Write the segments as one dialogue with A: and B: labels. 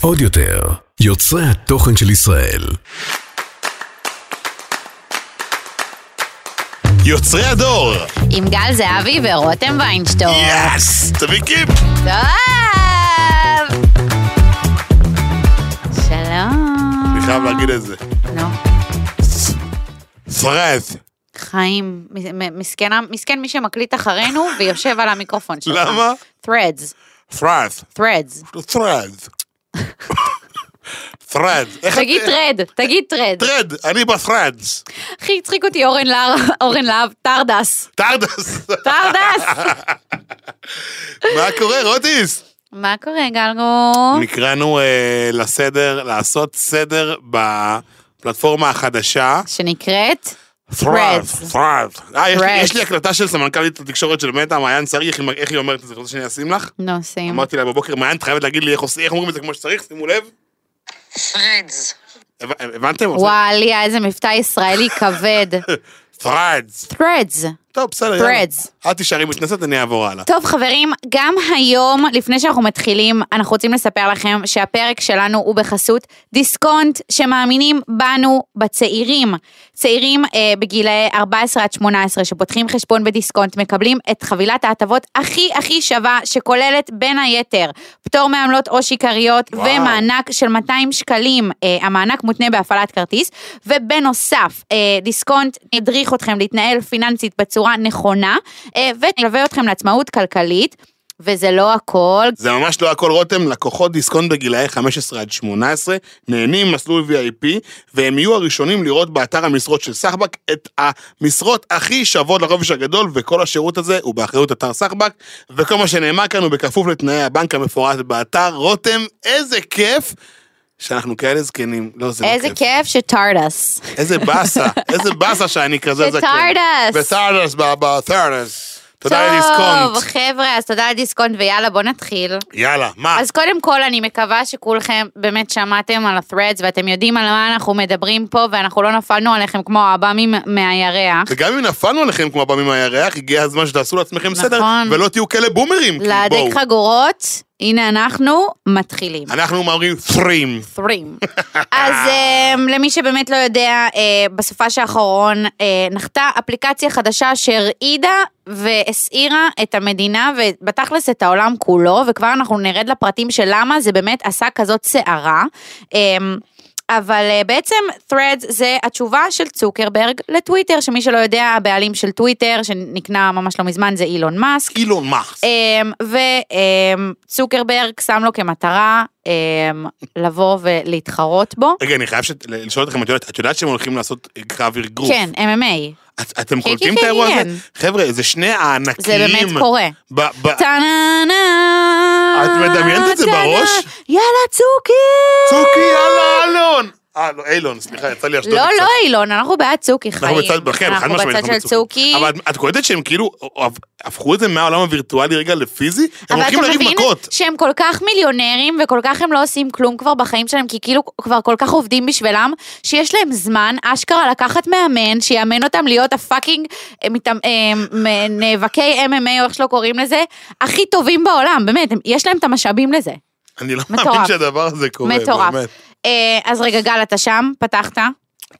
A: עוד יותר, יוצרי התוכן של ישראל.
B: יוצרי הדור!
C: עם גל זהבי ורותם ויינשטור.
B: יאס! תביא קיפ!
C: טוב! שלום.
B: אני חייב להגיד את זה.
C: נו,
B: סרט!
C: חיים. מ- מ- מסכן ה- מסכן מי שמקליט אחרינו ויושב על המיקרופון שלך.
B: למה?
C: Threads.
B: סרט!
C: Threads.
B: סרט! סרט! איך את-
C: תגיד טרד, תגיד טרד.
B: טרד! אני בסרטס!
C: הכי הצחיק אותי אורן להב, אורן להב, טרדס.
B: טרדס!
C: טרדס!
B: מה קורה, רוטיס?
C: מה קורה, גלגו?
B: נקראנו אה, לסדר, לעשות סדר בפלטפורמה החדשה.
C: שנקראת?
B: סרט! סרט! אה, יש לי-
C: Threads.
B: יש לי הקלטה של סמנכ"לית התקשורת של מטא, מעיין סריח, איך היא- איך היא אומרת את זה? רוצה שאני אשים לך?
C: נו, שים.
B: אמרתי לה בבוקר, מעיין, את חייבת להגיד לי איך עושים- איך אומרים את זה כמו שצריך, שימו לב.
D: פרדס.
B: הב- הבנתם?
C: וואליה, איזה מבטא ישראלי כבד.
B: סרט!
C: Threads.
B: טוב, בסדר, יאללה.
C: Threads.
B: את תישארי מתנשאת, אני אעבור הלאה.
C: טוב חברים, גם היום, לפני שאנחנו מתחילים, אנחנו רוצים לספר לכם שהפרק שלנו הוא בחסות דיסקונט, שמאמינים בנו, בצעירים. צעירים אה, בגילאי 14 עד 18 שפותחים חשבון בדיסקונט, מקבלים את חבילת ההטבות הכי הכי שווה, שכוללת בין היתר פטור מעמלות או שיכריות
B: וואו.
C: ומענ... מענק של 200 שקלים, אה, המענק מותנה בהפעלת כרטיס, ובנוסף, אה, דיסקונט ידריך אתכם להתנהל פיננסית בצורה נכונה, אה, וילווה אתכם לעצמאות כלכלית, וזה לא הכל.
B: זה ממש לא הכל רותם, לקוחות דיסקונט בגילאי 15 עד 18 נהנים ממסלול VIP, והם יהיו הראשונים לראות באתר המשרות של סחבק את המשרות הכי שוות לחופש הגדול, וכל השירות הזה הוא באחריות אתר סחבק, וכל מה שנאמר כאן הוא בכפוף לתנאי הבנק המפורט באתר. רותם, איזה כיף שאנחנו כאלה זקנים. לא, זה לא
C: איזה כיף שטרדס.
B: איזה באסה, איזה באסה שאני כזה זקן.
C: בטרדס.
B: בטרדס, ב- בטרדס. תודה לדיסקונט.
C: טוב, חבר'ה, אז תודה לדיסקונט, ויאללה, בוא נתחיל.
B: יאללה, מה?
C: אז קודם כל, אני מקווה שכולכם באמת שמעתם על ה-threads, ואתם יודעים על מה אנחנו מדברים פה, ואנחנו לא נפלנו עליכם כמו העב"מים מהירח.
B: וגם אם נפלנו עליכם כמו הפעמים מהירח, הגיע הזמן שתעשו לעצמכם סדר,
C: נכון.
B: ולא תהיו כאלה בומרים. כי
C: להדק
B: בואו,
C: חגורות, הנה אנחנו מתחילים.
B: אנחנו אומרים פרים.
C: ת'רים. אז um, למי שבאמת לא יודע, uh, בסופה האחרון uh, נחתה אפליקציה חדשה שהרעידה והסעירה את המדינה ובתכלס את העולם כולו, וכבר אנחנו נרד לפרטים של למה זה באמת עשה כזאת סערה. Um, אבל אה, בעצם Threads זה התשובה של צוקרברג לטוויטר, שמי שלא יודע, הבעלים של טוויטר, שנקנה ממש לא מזמן, זה אילון מאסק.
B: אילון מאס.
C: אה. וצוקרברג אמ, שם לו כמטרה אמ, לבוא ולהתחרות בו.
B: רגע, אני חייב שת- לשאול אתכם, את יודעת- את יודעת שהם הולכים לעשות אה, קרב ארגוף.
C: כן, MMA,
B: את- אתם
C: כן,
B: קולטים
C: כן,
B: את האירוע
C: כן.
B: הזה? חבר'ה, זה שני הענקים.
C: זה באמת קורה.
B: ב- ב-
C: טה-נה-נה,
B: את מדמיינת את זה
C: טה-נה,
B: בראש?
C: יאללה צוקי!
B: צוקי, יאללה, אלון! אה, לא, אילון, סליחה, יצא לי אשדוד.
C: לא,
B: קצת.
C: לא אילון, אנחנו בעד צוקי חיים.
B: אנחנו בצד, כן, חד
C: אנחנו
B: משמעית,
C: בצד
B: אנחנו
C: של צוקי.
B: אבל את- את קולטת שהם כאילו הפכו את זה מהעולם הווירטואלי רגע לפיזי? הם
C: אבל
B: הולכים
C: אתה
B: לריב
C: מבין
B: מכות.
C: שהם כל כך מיליונרים וכל כך הם לא עושים כלום כבר בחיים שלהם, כי כאילו כבר כל כך עובדים בשבילם, שיש להם זמן אשכרה לקחת מאמן, שיאמן אותם להיות הפאקינג אה, מתאמ- אה, מ- נאבקי MMA, או איך שלא קוראים לזה, הכי טובים בעולם, באמת, הם- יש להם את המשאבים לזה.
B: אני לא
C: מטורף.
B: מאמין שהדבר הזה קורה,
C: מטורף.
B: באמת.
C: אה, אז רגע, גל, אתה שם? פתחת?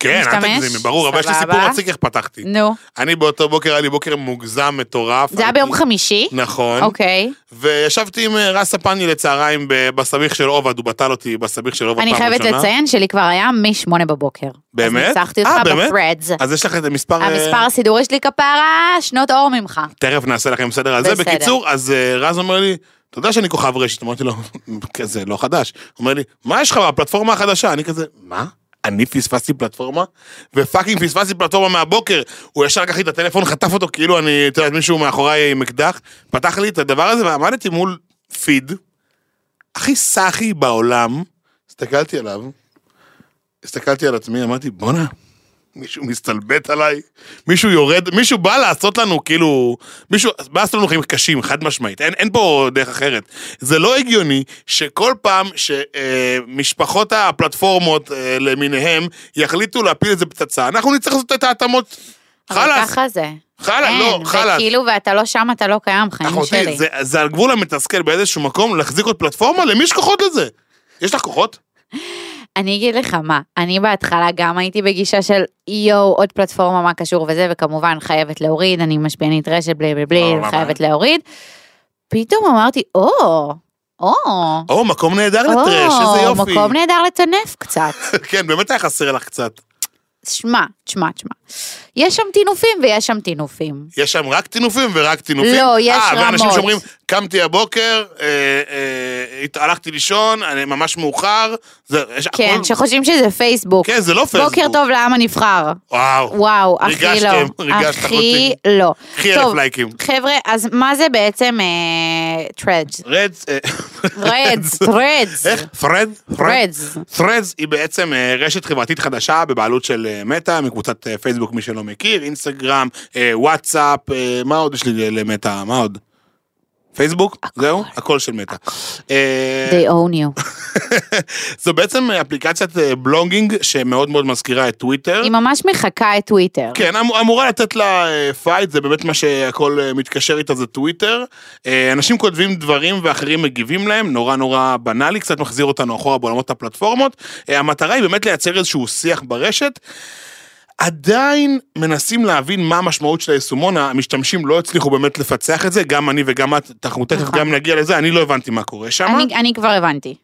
B: כן, אל
C: משתמש?
B: תגזימי, ברור, אבל יש לי סיפור
C: סבבה.
B: מצחיק איך פתחתי.
C: נו.
B: אני באותו בוקר, היה לי בוקר מוגזם, מטורף.
C: זה היה ביום חמישי?
B: נכון.
C: אוקיי.
B: וישבתי עם אה, רס הפני לצהריים ב- בסביך של עובד, הוא בטל אותי בסביך של עובד פעם
C: אני
B: ראשונה.
C: חייבת לציין שלי כבר היה משמונה בבוקר.
B: באמת?
C: אז ניצחתי
B: אה,
C: אותך
B: באמת?
C: בפרדס.
B: אז יש לך את המספר... אה,
C: המספר הסידורי שלי כפרה, שנות אור ממך.
B: תכף נעשה לכם סדר על זה.
C: בסדר.
B: בקיצור, אז אה, רז אומר לי, אתה יודע שאני כוכב רשת? אמרתי לו, כזה לא חדש. הוא אומר לי, מה יש לך בפלטפורמה החדשה? אני כזה, מה? אני פספסתי פלטפורמה? ופאקינג פספסתי פלטפורמה מהבוקר. הוא ישר לקח לי את הטלפון, חטף אותו כאילו אני, אתה יודע, מישהו מאחוריי עם אקדח, פתח לי את הדבר הזה ועמדתי מול פיד, הכי סאחי בעולם, הסתכלתי עליו, הסתכלתי על עצמי, אמרתי, בואנה, מישהו מסתלבט עליי, מישהו יורד, מישהו בא לעשות לנו כאילו, מישהו בא לעשות לנו חיים קשים, חד משמעית, אין, אין פה דרך אחרת. זה לא הגיוני שכל פעם שמשפחות אה, משפחות הפלטפורמות אה, למיניהם יחליטו להפיל איזה פצצה, אנחנו נצטרך לעשות את ההתאמות.
C: אבל
B: חלאס.
C: ככה זה.
B: חלאס, לא,
C: אין,
B: חלאס.
C: וכאילו, ואתה לא שם, אתה לא קיים, חיים שלי.
B: אחותי, זה- זה על גבול המתסכל באיזשהו מקום להחזיק עוד פלטפורמה? למי יש כוחות לזה? יש לך כוחות?
C: אני אגיד לך מה, אני בהתחלה גם הייתי בגישה של יואו, עוד פלטפורמה, מה קשור וזה, וכמובן חייבת להוריד, אני משפיענית רשת, בלי בלי בלי,
B: לא, לא, לא.
C: חייבת להוריד. פתאום אמרתי, או, או,
B: או, מקום נהדר לטרש, איזה
C: או,
B: יופי.
C: מקום נהדר לטנף קצת.
B: כן, באמת היה חסר לך קצת.
C: שמע, תשמע, תשמע. יש שם טינופים ויש שם טינופים.
B: יש שם רק טינופים ורק טינופים?
C: לא, יש
B: אה, ואנשים
C: רמות.
B: שאומרים, קמתי הבוקר, אה, אה, הת- הלכתי לישון, אני ממש מאוחר. זה, יש
C: כן,
B: הכל-
C: שחושבים שזה פייסבוק.
B: כן, זה לא פייסבוק.
C: בוקר טוב לעם הנבחר.
B: וואו.
C: וואו, הכי
B: ריגשתם,
C: לא.
B: ריגשת
C: הכי
B: אותי.
C: לא.
B: הכי אלף
C: טוב,
B: לייקים.
C: חבר'ה, אז מה זה בעצם אה, טרדס?
B: רדס, אה,
C: טרדס, טרדס.
B: איך? פרד?
C: Threads.
B: Threads היא בעצם אה, רשת חברתית חדשה בבעלות של אה, מטא, מקבוצת אה, פייסבוק, מי שלא מכיר, אינסטגרם, אה, וואטסאפ, אה, מה עוד יש לי למטא? מה עוד? פייסבוק? זהו? הכל של מטא. אה,
C: They own you.
B: זו בעצם אפליקציית אה, בלוגינג שמאוד מאוד מזכירה את טוויטר.
C: היא ממש מחקה את טוויטר.
B: כן, אמ- אמורה לתת לה אה, פייט, זה באמת מה שהכל אה, מתקשר איתה, זה טוויטר. אה, אנשים כותבים דברים ואחרים מגיבים להם, נורא נורא בנאלי, קצת מחזיר אותנו אחורה בעולמות הפלטפורמות. אה, המטרה היא באמת לייצר איזשהו שיח ברשת. עדיין מנסים להבין מה המשמעות של היישומון, המשתמשים לא הצליחו באמת לפצח את זה, גם אני וגם את, אנחנו תכף
C: נכון.
B: גם נגיע לזה, אני לא הבנתי מה קורה שם.
C: אני- אני כבר הבנתי.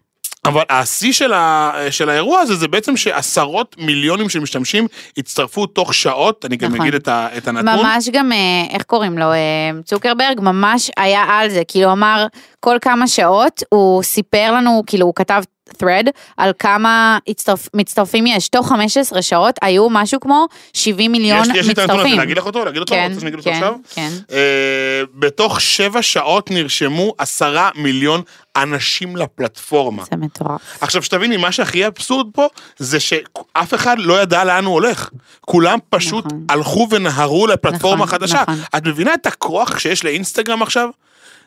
B: אבל השיא של, ה, של האירוע הזה זה בעצם שעשרות מיליונים של משתמשים הצטרפו תוך שעות, אני גם
C: נכון.
B: אגיד את, ה, את הנתון.
C: ממש גם, אה, איך קוראים לו, אה, צוקרברג, ממש היה על זה, כאילו אמר, כל כמה שעות הוא סיפר לנו, כאילו הוא כתב thread על כמה הצטרפ, מצטרפים יש, תוך 15 שעות היו משהו כמו 70 מיליון
B: יש לי- יש לי את הנתון הזה,
C: מצטרפים.
B: להגיד לך אותו? להגיד אותו?
C: כן,
B: רוצה שאני אגיד אותו
C: כן,
B: עכשיו?
C: כן.
B: אה, בתוך שבע שעות נרשמו עשרה מיליון אנשים לפלטפורמה.
C: זה מטורף.
B: עכשיו שתביני, מה שהכי אבסורד פה, זה שאף אחד לא ידע לאן הוא הולך. כולם פשוט
C: נכון.
B: הלכו ונהרו לפלטפורמה
C: נכון,
B: חדשה.
C: נכון.
B: את מבינה את הכוח שיש לאינסטגרם עכשיו?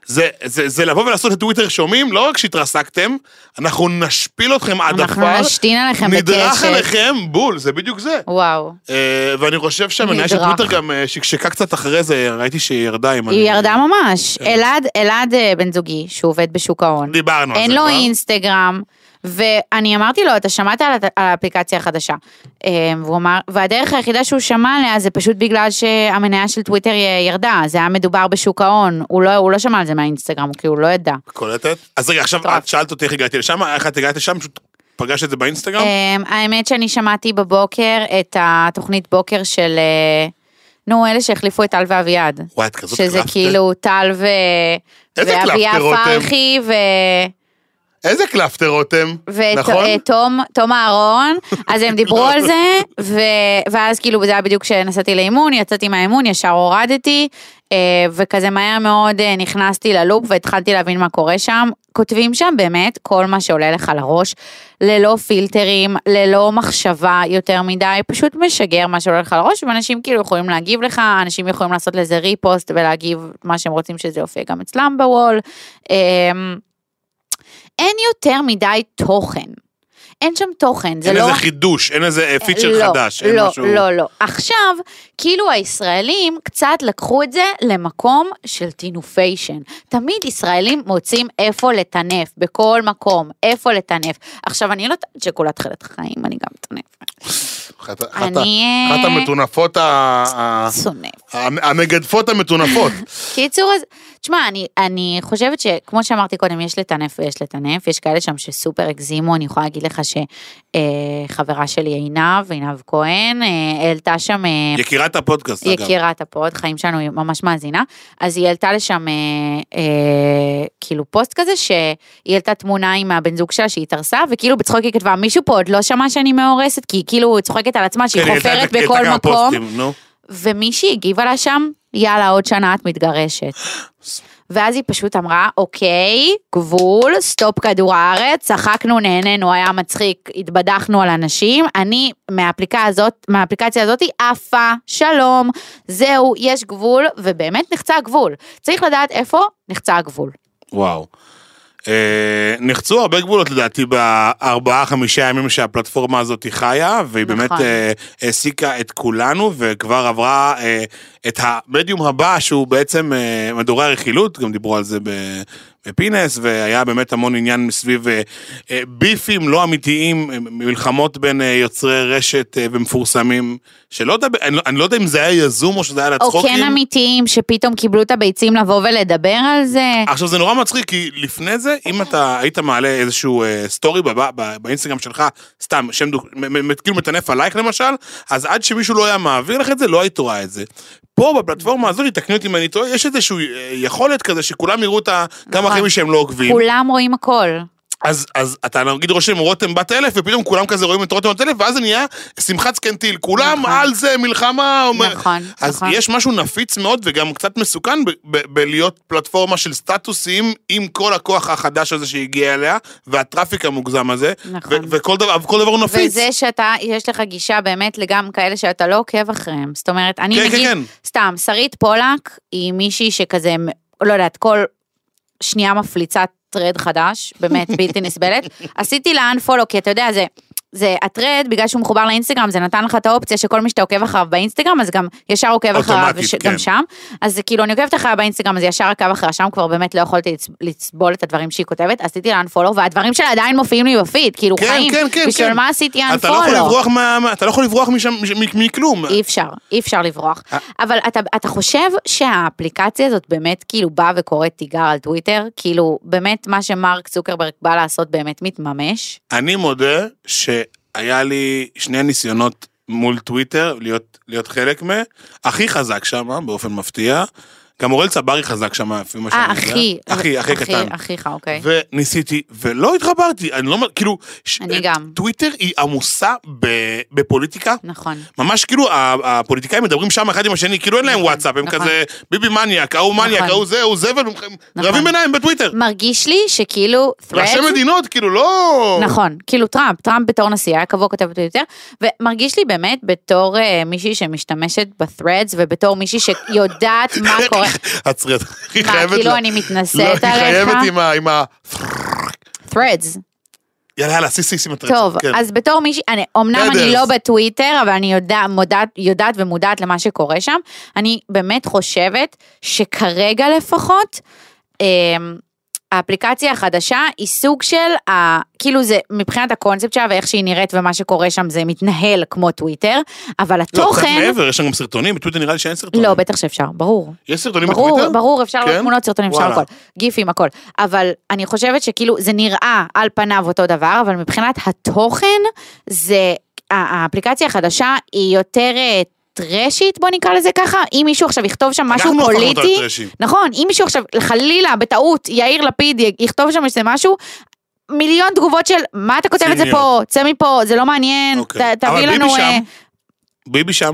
B: זה, זה, זה לבוא ולעשות את טוויטר שומעים, לא רק שהתרסקתם, אנחנו נשפיל אתכם עד
C: אנחנו
B: עפר,
C: נשתין עליכם
B: נדרך
C: בקשת.
B: עליכם, בול, זה בדיוק זה.
C: וואו.
B: אה, ואני חושב שהמניה של
C: נדרך.
B: טוויטר גם אה, שקשקה קצת אחרי זה, ראיתי שהיא ירדה עם...
C: היא ירדה ממש. אלעד, אלעד אה, בן זוגי, שעובד בשוק ההון.
B: דיברנו על זה
C: אין לו
B: כבר.
C: אינסטגרם, ואני אמרתי לו, אתה שמעת על, הת- על האפליקציה החדשה. אה, והוא אמר, והדרך היחידה שהוא שמע עליה זה פשוט בגלל שהמניה של טוויטר י- ירדה, זה היה מדובר בשוק ההון, הוא לא, הוא לא שמע על זה מהאינסטגרם, הוא כאילו לא ידע.
B: קולטת? אז רגע, עכשיו
C: מטורף.
B: את שאלת אותי איך הגעתי לשם, איך את הגעת לשם, פשוט פגשת את זה באינסטגרם?
C: אה, האמת שאני שמעתי בבוקר את התוכנית בוקר של, אה, נו, אלה שהחליפו את טל ואביעד.
B: וואי, את כזאת
C: שזה
B: קלפטר.
C: כאילו טל ו...
B: איזה
C: ואביה
B: קלפטר, רותם?
C: פרחי ו...
B: איזה קלפטר רותם, נכון?
C: ותום אה, תום אהרון, אז הם דיברו על זה, ו... ואז כאילו זה היה בדיוק כשנסעתי לאימון, יצאתי מהאימון, ישר הורדתי, אה, וכזה מהר מאוד אה, נכנסתי ללופ והתחלתי להבין מה קורה שם. כותבים שם באמת כל מה שעולה לך לראש, ללא פילטרים, ללא מחשבה יותר מדי, פשוט משגר מה שעולה לך לראש, ואנשים כאילו יכולים להגיב לך, אנשים יכולים לעשות לזה ריפוסט ולהגיב מה שהם רוצים שזה יופיע גם אצלם בוול. אה, אין יותר מדי תוכן. אין שם תוכן, זה
B: אין
C: לא...
B: איזה חידוש, אין איזה אה, פיצ'ר
C: לא,
B: חדש, אין
C: לא,
B: משהו...
C: לא, לא. עכשיו, כאילו הישראלים קצת לקחו את זה למקום של טינופיישן. תמיד ישראלים מוצאים איפה לטנף, בכל מקום, איפה לטנף. עכשיו, אני לא טוענת שכולה תחילת חיים, אני גם טונפת.
B: אחת אחת-
C: אני, אה,
B: אחת המטונפות, ה- ה-
C: שונאת.
B: ה- המגדפות המטונפות.
C: קיצור, אז, תשמע, אני, אני חושבת שכמו שאמרתי קודם, יש לטנף ויש לטנף, יש כאלה שם שסופר הגזימו, אני יכולה להגיד לך שחברה שלי עינב, עינב כהן, אה, העלתה שם... אה,
B: יקירת הפודקאסט, אגב.
C: יקירת הפוד, חיים שלנו, היא ממש מאזינה, אז היא העלתה לשם אה, אה, כאילו פוסט כזה, שהיא העלתה תמונה עם הבן זוג שלה שהיא התארסה, וכאילו בצחוק היא כתבה, מישהו פה עוד לא שמע שאני מאורסת, כי היא כאילו צוחקת על עצמה שהיא
B: כן, היא העלתה
C: חופרת
B: את- העלתה
C: בכל
B: כמה
C: מקום,
B: פוסטים, נו.
C: ומישהי הגיבה לה שם, יאללה, עוד שנה את מתגרשת. ואז היא פשוט אמרה, אוקיי, גבול, סטופ כדור הארץ, צחקנו, נהנינו, היה מצחיק, התבדחנו על אנשים, אני מהאפליקה הזאת, מהאפליקציה הזאת עפה, שלום, זהו, יש גבול, ובאמת נחצה הגבול. צריך לדעת איפה נחצה הגבול.
B: וואו. אה, אה, נחצו הרבה גבולות לדעתי בארבעה, חמישה ימים שהפלטפורמה הזאת היא חיה, והיא
C: נכון.
B: באמת אה, העסיקה את כולנו, וכבר עברה אה, את המדיום הבא, שהוא בעצם אה, מדורי הרכילות, גם דיברו על זה ב- בפינס, והיה באמת המון עניין סביב אה, אה, ביפים לא אמיתיים, אה, מלחמות בין אה, יוצרי רשת אה, ומפורסמים, שלא יודע, אני, לא- אני לא יודע אם זה היה יזום או שזה היה
C: או
B: לצחוקים.
C: כן אמיתיים, שפתאום קיבלו את הביצים לבוא ולדבר על זה.
B: עכשיו זה נורא מצחיק, כי לפני זה, אם אתה היית מעלה איזשהו אה, סטורי בב- ב- באינסטגרם שלך, סתם, שם דוק, מ- מ- מ- כאילו מטנף עלייך למשל, אז עד שמישהו לא היה מעביר לך את זה, לא היית רואה את זה. פה בפלטפורמה הזאת, תקני אותי אם אני טועה, יש איזושהי אה, יכולת כזה שכולם יראו את ה- גם
C: נכון.
B: אחרים שהם לא עוקבים.
C: כולם רואים הכל.
B: אז, אז אתה נגיד רושם רותם בת אלף, ופתאום כולם כזה רואים את רותם בת אלף, ואז זה נהיה שמחת סקנטיל, כולם
C: נכון.
B: על זה, מלחמה. אומר-
C: נכון,
B: אז
C: נכון.
B: יש משהו נפיץ מאוד וגם קצת מסוכן ב- ב- בלהיות פלטפורמה של סטטוסים עם כל הכוח החדש הזה שהגיע אליה, והטראפיק המוגזם הזה,
C: נכון.
B: ו- וכל דבר, וכל דבר הוא נפיץ.
C: וזה שאתה, יש לך גישה באמת לגם כאלה שאתה לא עוקב אחריהם. זאת אומרת, אני
B: כן, כן,
C: נגיד,
B: כן.
C: סתם, שרית פולק היא מישהי שכזה, לא יודעת, כל שנייה מפליצה טרד חדש, באמת בלתי נסבלת. עשיתי לה unfollow, כי אתה יודע, זה... זה הטרד, בגלל שהוא מחובר לאינסטגרם, זה נתן לך את האופציה שכל מי שאתה עוקב אחריו באינסטגרם, אז גם ישר עוקב אחריו,
B: אוטומטית,
C: וש-
B: כן.
C: גם שם. אז זה כאילו, אני עוקבת אחריה באינסטגרם, אז ישר עקב אחריה שם, כבר באמת לא יכולתי לצ- לסבול את הדברים שהיא כותבת, עשיתי לה unfollow, והדברים שלה עדיין מופיעים לי בפיד, כאילו,
B: כן,
C: חיים.
B: כן, כן,
C: בשביל
B: כן.
C: מה עשיתי
B: אתה לא יכול
C: unfollow?
B: לברוח, מה, מה- אתה לא יכול לברוח משם, מש- מ- מכלום.
C: אי אפשר, אי אפשר לברוח.
B: אה.
C: אבל אתה, אתה חושב שהאפליקציה הזאת באמת כאילו באה וקוראת תיגר על טוויטר? כאילו, באמת מה שמרק צוקרברג בא לעשות באמת מתממש?
B: אני מודה שהיה לי שני ניסיונות מול טוויטר להיות, להיות חלק מה. הכי חזק שם, באופן מפתיע. גם אורל צברי חזק שם, לפי מה שאני
C: אה,
B: יודע.
C: אחי.
B: אחי, אחי קטן.
C: אחיך, אוקיי.
B: וניסיתי, ולא התחברתי, אני לא, מ- כאילו, ש-
C: אני גם.
B: טוויטר היא עמוסה ב- בפוליטיקה,
C: נכון.
B: ממש כאילו ה- הפוליטיקאים מדברים שם אחד עם השני, כאילו אין להם
C: נכון,
B: וואטסאפ, הם
C: נכון.
B: כזה ביבי מניאק, ההוא מניאק,
C: נכון.
B: ההוא זה, הוא זבל, הם רבים ביניים בטוויטר.
C: מרגיש לי שכאילו,
B: ראשי
C: threads-
B: מדינות, כאילו לא...
C: נכון, כאילו טראמפ, טראמפ בתור נשיא היה קבוע כותב בטוויטר, ומרגיש לי באמת בתור אה, מישהי שמשתמשת ב-threads ובתור מישהי שיודעת מה קורה.
B: עצרי, את היא
C: מה,
B: חייבת
C: כאילו
B: לה-
C: אני מתנשאת
B: לא, היא
C: עליך?
B: חייבת עם ה- עם ה...
C: threads.
B: יאללה, יאללה, סיס סיס עם הטרצה.
C: טוב,
B: כן.
C: אז בתור מישהי, אני- אמנם
B: בסדר,
C: אני לא
B: אז-
C: בטוויטר, אבל אני יודע, מודעת, יודעת ומודעת למה שקורה שם. אני באמת חושבת שכרגע לפחות, אמ, האפליקציה החדשה היא סוג של, ה, כאילו זה מבחינת הקונספט שלה ואיך שהיא נראית ומה שקורה שם זה מתנהל כמו טוויטר, אבל
B: לא, קצת
C: התוכן,
B: מעבר, יש שם גם סרטונים, בטוויטר נראה לי שאין סרטונים.
C: לא, בטח שאפשר, ברור.
B: יש סרטונים
C: ברור,
B: בטוויטר?
C: ברור, אפשר
B: כן?
C: לעלות תמונות, סרטונים, אפשר
B: וואלה.
C: הכל, גיפים, הכל. אבל אני חושבת שכאילו, זה נראה על פניו אותו דבר, אבל מבחינת התוכן, זה, ה- האפליקציה החדשה היא יותר אה, טרשית, בוא נקרא לזה ככה, אם מישהו עכשיו יכתוב שם משהו
B: אנחנו לא הפכנו אותה
C: פוליטי,
B: לטרשי.
C: נכון, אם מישהו עכשיו, חלילה, בטעות, יאיר לפיד י- יכתוב שם איזה משהו, מיליון תגובות של, מה אתה כותב את זה פה,
B: ציניות.
C: צא מפה, זה לא מעניין, ת,
B: אוקיי.
C: תביא
B: אבל ביבי
C: לנו... אה,
B: שם. ביבי שם.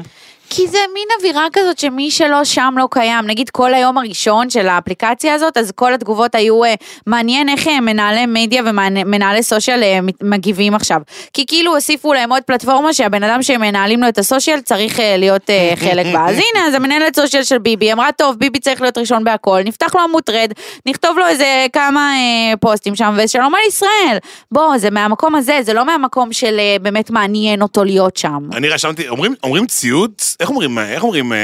C: כי זה מין אווירה כזאת שמי שלא שם לא קיים. נגיד כל היום הראשון של האפליקציה הזאת, אז כל התגובות היו אה, מעניין איך אה, מנהלי מדיה ומנהלי סושיאל אה, מת- מגיבים עכשיו. כי כאילו הוסיפו להם עוד פלטפורמה שהבן אדם שמנהלים לו את הסושיאל צריך אה, להיות אה, חלק בה. אז הנה, אז המנהלת סושיאל של ביבי אמרה, טוב, ביבי צריך להיות ראשון בהכל, נפתח לו עמוד טרד, נכתוב לו איזה כמה אה, פוסטים שם, ושלום על ישראל. בוא, זה מהמקום הזה, זה לא מהמקום של אה, באמת מעניין אותו להיות שם.
B: אני רשמתי, אומרים, אומרים ציוץ? איך אומרים, אה, איך אומרים, אה,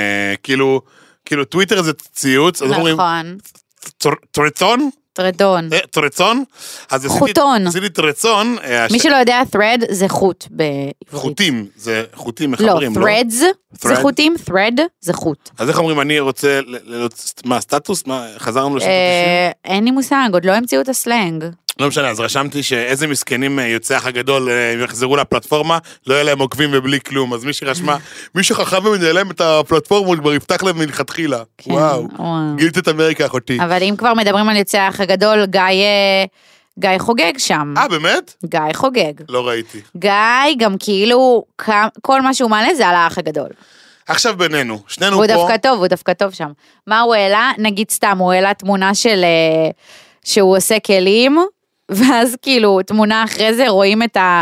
B: כאילו, כאילו טוויטר זה ציוץ, אז איך אומרים
C: נכון,
B: "טור- טורצון?
C: טרדון.
B: אה, טורצון? אז עשיתי-
C: חוטון.
B: עשיתי טורצון, אה,
C: מי
B: הש-
C: שלא יודע, thread זה חוט בעברית.
B: חוטים, זה חוטים
C: לא,
B: מחברים, לא?
C: threads זה
B: thread.
C: חוטים, thread זה חוט.
B: אז איך אומרים, אני רוצה, ל- ל- להיות ס- מה, סטטוס? מה, חזרנו לשנות ה-90?
C: אה, אין לי מושג, עוד לא המציאו את הסלנג.
B: לא משנה, אז רשמתי שאיזה מסכנים אה, יוצאי אח הגדול אה, אם יחזרו לפלטפורמה, לא יהיה להם עוקבים ובלי כלום. אז מי שרשמה, מי שחכם ומנהל להם את הפלטפורמה, הוא כבר יפתח להם מלכתחילה.
C: כן,
B: וואו.
C: וואו.
B: גילת את אמריקה, אחותי.
C: אבל אם כבר מדברים על יוצא האח הגדול, גיא אה, גיא חוגג שם.
B: אה, באמת?
C: גיא חוגג.
B: לא ראיתי.
C: גיא גם כאילו, כ- כל מה שהוא מעלה זה על האח הגדול.
B: עכשיו בינינו, שנינו
C: הוא
B: פה.
C: דווקא טוב, הוא דווקא טוב שם. מה הוא העלה? נגיד סתם, הוא העלה תמונה של... אה, שהוא עושה כלים, ואז כאילו, תמונה אחרי זה רואים את ה...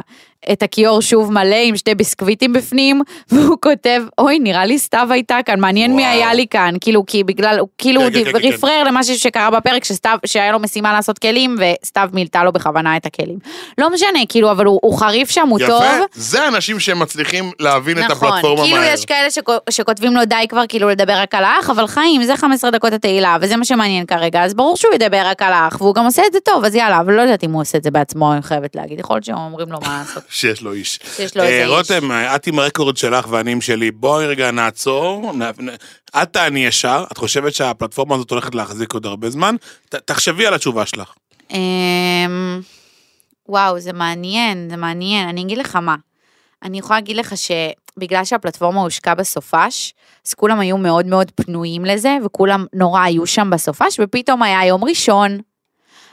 C: את הכיור שוב מלא עם שתי ביסקוויטים בפנים, והוא כותב, אוי, נראה לי סתיו הייתה כאן, מעניין מי
B: וואו.
C: היה לי כאן. כאילו, כי בגלל, הוא כאילו
B: כן,
C: הוא
B: כן, כן, כן, כן.
C: רפרר למשהו שקרה בפרק, שסתיו, שהיה לו משימה לעשות כלים, וסתיו מילתה לו בכוונה את הכלים. לא משנה, כאילו, אבל הוא, הוא חריף שם, הוא טוב.
B: יפה, זה אנשים שמצליחים להבין את הפלטפורמה
C: כאילו
B: מהר.
C: יש כאלה שכו- שכותבים לו די כבר כאילו לדבר רק על האח, אבל חיים, זה 15 דקות התהילה, וזה מה שמעניין כרגע, אז ברור שהוא ידבר רק על האח, והוא גם עושה את זה טוב, אז יאללה, אבל לא יודעת אם הוא עושה את זה בעצמו, אני חייבת להגיד, יכול להיות שהם אומרים לו מה לעשות.
B: שיש לו איש.
C: שיש לו
B: אה,
C: איזה איש.
B: רותם, את עם הרקורד שלך ואני עם שלי, בואי רגע נעצור, נ- נ- את תעני ישר, את חושבת שהפלטפורמה הזאת הולכת להחזיק עוד הרבה זמן, ת- תחשבי על התשובה שלך.
C: אמ, וואו, זה מעניין, זה מעניין, אני אגיד לך מה. אני יכולה להגיד לך שבגלל שהפלטפורמה הושקה בסופש, אז כולם היו מאוד מאוד פנויים לזה, וכולם נורא היו שם בסופש, ופתאום היה יום ראשון.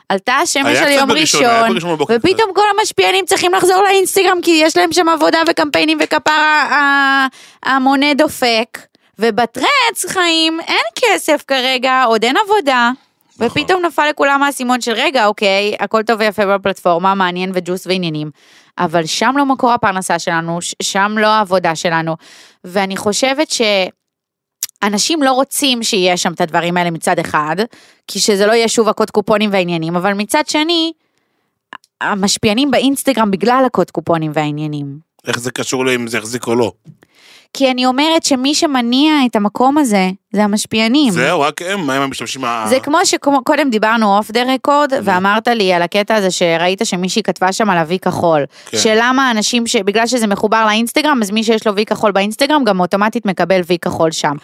C: עלתה השמש
B: היה
C: על
B: קצת
C: יום
B: בראשון, היה
C: ראשון,
B: בראשון בבוקר
C: ופתאום כל המשפיענים צריכים לחזור לאינסטגרם, כי יש להם שם עבודה וקמפיינים וכפרה ה- המונה דופק. ובטרץ, חיים, אין כסף כרגע, עוד אין עבודה. ופתאום נפל לכולם האסימון של רגע, אוקיי, הכל טוב ויפה בפלטפורמה, מעניין וג'וס ועניינים. אבל שם לא מקור הפרנסה שלנו, ש- שם לא העבודה שלנו. ואני חושבת ש... אנשים לא רוצים שיהיה שם את הדברים האלה מצד אחד, כי שזה לא יהיה שוב הקוד קופונים והעניינים, אבל מצד שני, המשפיענים באינסטגרם בגלל הקוד קופונים והעניינים.
B: איך זה קשור לאם זה יחזיק או לא.
C: כי אני אומרת שמי שמניע את המקום הזה, זה המשפיענים.
B: זהו, רק הם, מה הם המשתמשים ה...
C: זה כמו שקודם דיברנו אוף דה רקורד,
B: אוקיי.
C: ואמרת לי על הקטע הזה שראית שמישהי כתבה שם על ה-V כחול.
B: כן.
C: שלמה אנשים, ש- בגלל שזה מחובר לאינסטגרם, אז מי שיש לו V כחול באינסטגרם, גם אוטומטית מקבל V כחול שם.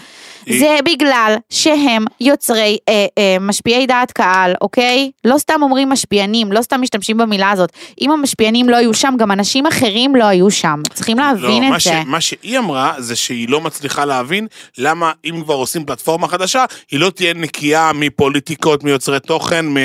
B: היא-
C: זה בגלל שהם יוצרי, אה, אה, משפיעי דעת קהל, אוקיי? לא סתם אומרים משפיענים, לא סתם משתמשים במילה הזאת. אם המשפיענים לא היו שם, גם אנשים אחרים לא היו שם. צריכים להבין
B: לא, מה
C: את זה.
B: ש- מה שהיא אמרה זה שהיא לא מצליחה להבין למה אם כבר עושים פלטפורמה חדשה, היא לא תהיה נקייה מפוליטיקות, מיוצרי תוכן, מ-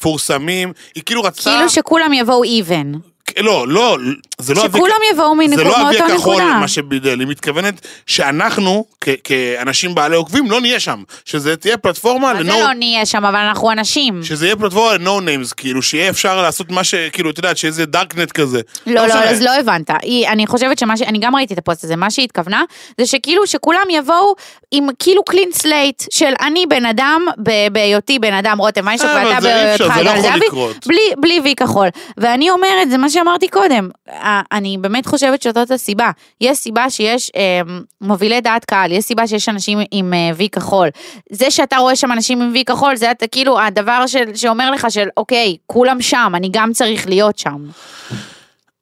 B: ממפורסמים. היא כאילו רצתה...
C: כאילו שכולם יבואו even.
B: לא, לא, זה לא...
C: שכולם יבואו
B: זה
C: מנקוד-
B: לא
C: מאותו
B: אבי הכחול,
C: נקודה.
B: מה שבידל, היא מתכוונת שאנחנו, כ- כאנשים בעלי עוקבים, לא נהיה שם. שזה תהיה פלטפורמה
C: מה זה
B: ל-no...
C: לא נהיה שם, אבל אנחנו אנשים.
B: שזה יהיה פלטפורמה ל-no names, כאילו, שיהיה אפשר לעשות מה ש... כאילו, את יודעת, שאיזה דארקנט כזה.
C: לא, לא,
B: משנה.
C: אז לא הבנת. היא, אני חושבת שמה ש... אני גם ראיתי את הפוסט הזה, מה שהיא התכוונה, זה שכאילו שכולם יבואו עם כאילו קלין סלייט של אני בן אדם, ב- בהיותי בן אדם רותם ויישק
B: אה, אבל
C: ואתה
B: זה אי אפשר,
C: בהיותך
B: זה לא
C: גל
B: יכול
C: זהבי,
B: לקרות.
C: בלי, בלי וי כחול. ואני אומרת, זה מה שאמרתי קודם, אה, אני באמת חושבת שזאת הסיבה. יש סיבה שיש אה, מובילי דעת קהל, יש סיבה שיש אנשים עם אה, וי כחול. זה שאתה רואה שם אנשים עם וי כחול, זה אתה- כאילו הדבר של, שאומר לך של אוקיי, כולם שם, אני גם צריך להיות שם.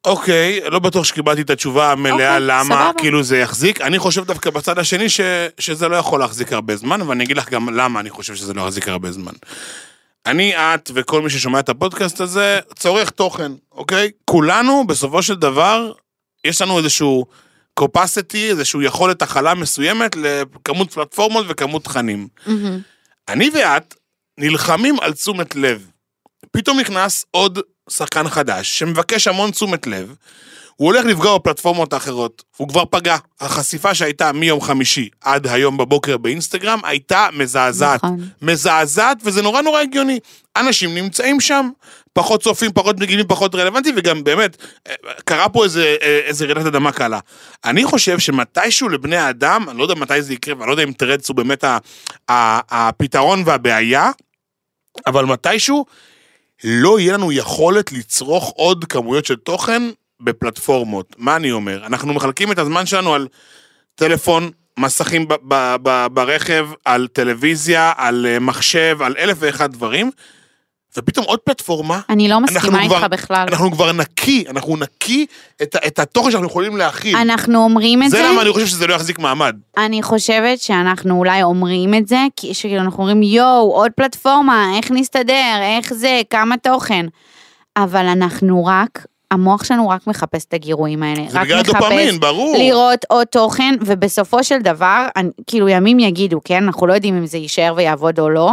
B: אוקיי, לא בטוח שקיבלתי את התשובה המלאה
C: אוקיי,
B: למה,
C: סבבה.
B: כאילו זה יחזיק. אני חושב דווקא בצד השני ש, שזה לא יכול להחזיק הרבה זמן, ואני אגיד לך גם למה אני חושב שזה לא יחזיק הרבה זמן. אני, את וכל מי ששומע את הפודקאסט הזה, צורך תוכן, אוקיי? כולנו, בסופו של דבר, יש לנו איזשהו capacity, איזשהו יכולת הכלה מסוימת לכמות פלטפורמות וכמות תכנים. אני ואת נלחמים על תשומת לב. פתאום נכנס עוד שחקן חדש שמבקש המון תשומת לב, הוא הולך לפגוע בפלטפורמות האחרות, הוא כבר פגע. החשיפה שהייתה מיום חמישי עד היום בבוקר באינסטגרם הייתה מזעזעת.
C: נכון.
B: מזעזעת, וזה נורא נורא הגיוני. אנשים נמצאים שם, פחות צופים, פחות מגיבים, פחות רלוונטי, וגם באמת, אה, קרה פה איזה, אה, איזה רעידת אדמה קלה. אני חושב שמתישהו לבני האדם, אני לא יודע מתי זה יקרה, ואני לא יודע אם טרדס הוא באמת ה- ה- הפתרון והבעיה, אבל מתישהו לא יהיה לנו יכולת לצרוך עוד כמויות של תוכן בפלטפורמות. מה אני אומר? אנחנו מחלקים את הזמן שלנו על טלפון, מסכים ב- ב- ב- ברכב, על טלוויזיה, על אה, מחשב, על אלף ואחד דברים, ופתאום עוד פלטפורמה.
C: אני לא
B: אנחנו
C: מסכימה איתך
B: כבר-
C: בכלל.
B: אנחנו כבר נקי, אנחנו נקי את, ה- את התוכן שאנחנו יכולים להכיל.
C: אנחנו אומרים את
B: זה
C: זה,
B: למה אני חושב שזה לא יחזיק מעמד.
C: אני חושבת שאנחנו אולי אומרים את זה, כי שכאילו אנחנו אומרים יואו, עוד פלטפורמה, איך נסתדר, איך זה, כמה תוכן. אבל אנחנו רק, המוח שלנו רק מחפש את הגירויים האלה.
B: זה
C: רק
B: בגלל
C: מחפש
B: הדופמין, ברור.
C: לראות עוד תוכן, ובסופו של דבר, אני- כאילו ימים יגידו, כן? אנחנו לא יודעים אם זה יישאר ויעבוד או לא,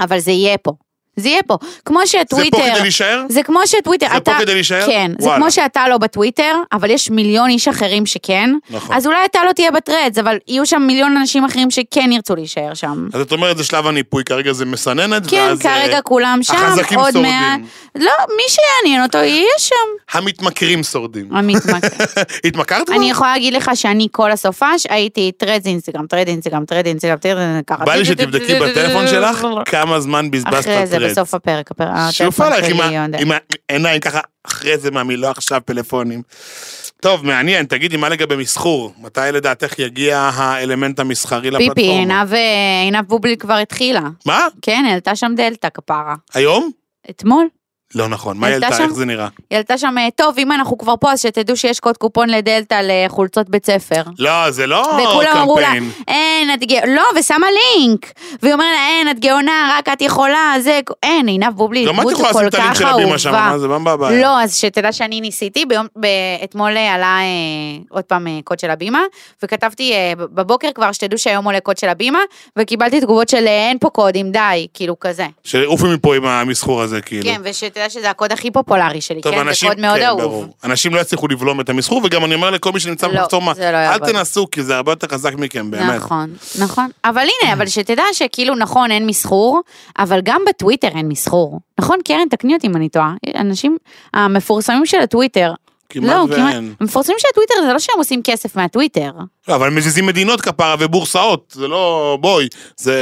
C: אבל זה יהיה פה. זה יהיה פה. כמו שטוויטר...
B: זה פה כדי להישאר?
C: זה כמו שטוויטר,
B: זה
C: אתה...
B: פה כדי להישאר?
C: כן, זה
B: וואלה.
C: כמו שאתה לא בטוויטר, אבל יש מיליון איש אחרים שכן.
B: נכון.
C: אז אולי אתה לא תהיה בטרדס, אבל יהיו שם מיליון אנשים אחרים שכן ירצו להישאר שם.
B: אז את אומרת, זה שלב הניפוי, כרגע זה מסננת,
C: כן,
B: ואז... אה,
C: כרגע כולם שם,
B: החזקים
C: עוד
B: שורדים.
C: מעט... לא, מי שיעניין אותו יהיה שם.
B: המתמכרים שורדים.
C: המתמכר.
B: התמכרת כבר?
C: אני יכולה להגיד לך שאני כל הסופש הייתי טרד אינסטגרם, טרד אינסטגרם, טרד אינסטגרם, טרד אינסטגרם, ככה.
B: בא לי שתבדקי בטלפון שלך כמה זמן בזבזת
C: אחרי זה
B: הטרד.
C: בסוף הפרק, הפרק,
B: שוב
C: הטלפון
B: עלייך עם
C: שלי,
B: ה-
C: יונדל.
B: עם העיניים ככה, אחרי זה מהמילה עכשיו פלאפונים. טוב, מעניין, תגידי, מה לגבי מסחור? מתי לדעתך יגיע האלמנט המסחרי לפלטפורמה?
C: פיפי, עינב, אה, עינב בובליל כבר התחילה.
B: מה?
C: כן, העלתה שם דלתא כפרה.
B: היום?
C: אתמול?
B: לא נכון, מה היא
C: העלתה
B: העלתה?
C: שם?
B: איך זה נראה?
C: היא העלתה שם, אה, טוב, אם אנחנו כבר פה, אז שתדעו שיש קוד קופון לדלתא לחולצות בית ספר.
B: לא, זה לא
C: וכולם אמרו לה,
B: קמפיין.
C: אין, את גאונה, לא, ושמה לינק. והיא אומרת לה, אין, את גאונה, רק את יכולה, זה, אין, עינב בובליל,
B: גם לא, את
C: דמות
B: יכולה לשים
C: כל
B: את הלינק
C: כך
B: של הבימה שם,
C: אהובה.
B: מה זה, מה הבעיה?
C: לא, אז שתדע שאני ניסיתי, ביום, ב, אתמול אה, עלה אה, עוד פעם אה, קוד של הבימה, וכתבתי אה, ב- בבוקר כבר שתדעו שהיום עולה קוד של הבימה, וקיבלתי תגובות של אה, אין פה קודים, די, כאילו כזה.
B: שעופי מפה עם המסחור הזה, כאילו.
C: כן, ושתדע שזה הקוד הכי פופולרי שלי,
B: טוב,
C: כן,
B: אנשים,
C: זה קוד מאוד
B: כן,
C: אהוב.
B: ברור. אנשים לא יצליחו לבלום את המסחור, וגם אני אומר לכל מי שנמצא
C: לא,
B: במחסור, מה,
C: זה לא
B: אל
C: יעבוד.
B: תנסו, כי זה הרבה יותר חזק מכם, באמת.
C: נכון, נכון. אבל הנה, אבל שתדע שכאילו, נכון, אין מסחור, אבל גם בטוויטר אין מסחור. נכון, קרן, תקני אותי אם אני טועה. אנשים המפורסמים של הטוויטר,
B: כמעט
C: לא,
B: ואין.
C: המפורסמים של הטוויטר זה לא שהם עושים כסף מהטוויטר.
B: לא, אבל מזיזים מדינות כפרה ובורסאות, זה לא, בואי, זה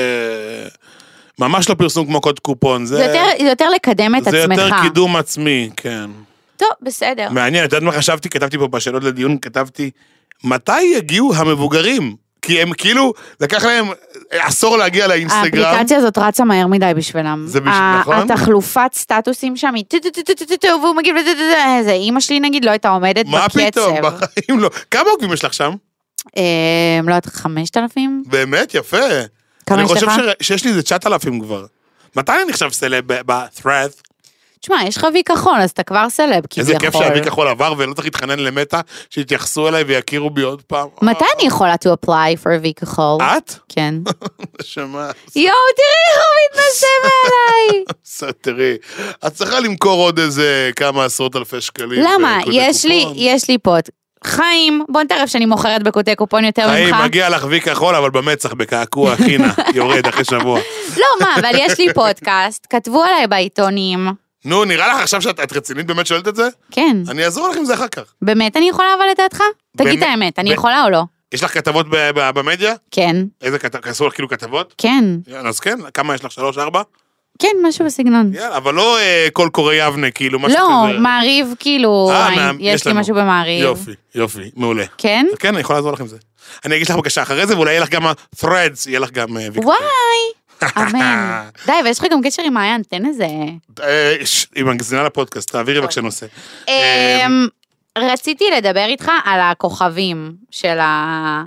B: ממש לא פרסום כמו קוד קופון, זה...
C: זה יותר- זה יותר לקדם את
B: זה
C: עצמך.
B: יותר קידום עצמי, כן.
C: טוב, בסדר.
B: מעניין, את יודעת מה חשבתי? כתבתי פה בשאלות לדיון, כתבתי, מתי יגיעו המבוגרים? כי הם כאילו, לקח להם עשור להגיע לאינסטגרם.
C: האפליקציה הזאת רצה מהר מדי בשבילם.
B: זה בש-
C: ה-
B: נכון?
C: התחלופת סטטוסים שם היא טו טו טו טו טו טו טו והוא מגיב לזה, זה אימא שלי נגיד לא הייתה עומדת בקצב.
B: מה פתאום, בחיים לא. כמה עוקבים יש לך שם?
C: אה, לא יודעת, 5,000?
B: באמת, יפה.
C: כמה
B: אני
C: יש
B: חושב
C: לך?
B: ש- שיש לי איזה 9,000 כבר. מתי אני נחשב סלב ב- ב-thread?
C: תשמע, יש לך וי כחול, אז אתה כבר סלב,
B: איזה
C: כביכול.
B: כיף שהאבי כחול עבר ולא צריך להתחנן למטה, שיתייחסו אליי ויכירו בי עוד פעם.
C: מתי אני יכולה to apply for וי כחול?
B: אה, את?
C: כן.
B: נשמה,
C: יואו, תראי איך הוא מתנשם עליי.
B: בסדר, תראי, את צריכה למכור עוד איזה כמה עשרות אלפי שקלים.
C: למה?
B: בקודי
C: יש לי,
B: קופון.
C: יש לי פה. את חיים, בוא נטרף שאני מוכרת בקוטי קופון יותר
B: חיים,
C: ממך.
B: מגיע לך וי כחול, אבל במצח, בקעקוע, חינה, יורד אחרי שבוע.
C: לא, מה, אבל יש לי פודקאסט, כתבו עליי בעיתונים.
B: נו, נראה לך עכשיו שאת את רצינית באמת שואלת את זה?
C: כן.
B: אני אעזור לך עם זה אחר כך.
C: באמת אני יכולה אבל לדעתך? תגיד
B: באמת-
C: את האמת, אני
B: ב-
C: יכולה או לא?
B: יש לך כתבות ב- ב- במדיה?
C: כן,
B: איזה כתבות? עשו לך כאילו כתבות?
C: כן,
B: יאללה, אז כן, כמה יש לך? שלוש, ארבע?
C: כן, משהו בסגנון.
B: יאללה, אבל לא אה, קול קורא יבנה, כאילו, משהו
C: לא,
B: כזה.
C: מעריב, כאילו,
B: אה,
C: אני-
B: מה-
C: יש לי
B: לנו.
C: משהו במעריב.
B: יופי, יופי, מעולה.
C: כן?
B: כן, אני יכול לעזור לך עם זה. אני אגיש לך בקשה אחרי זה, ואולי יהיה לך גם ה-threads, יהיה לך גם... אה, ויקטור.
C: וואי, אמן. די, ויש לך גם קשר עם מעיין, תן איזה...
B: אה, ש- היא מגזינה לפודקאסט, תעבירי בבקשה נושא.
C: אמ, רציתי לדבר איתך על הכוכבים של ה...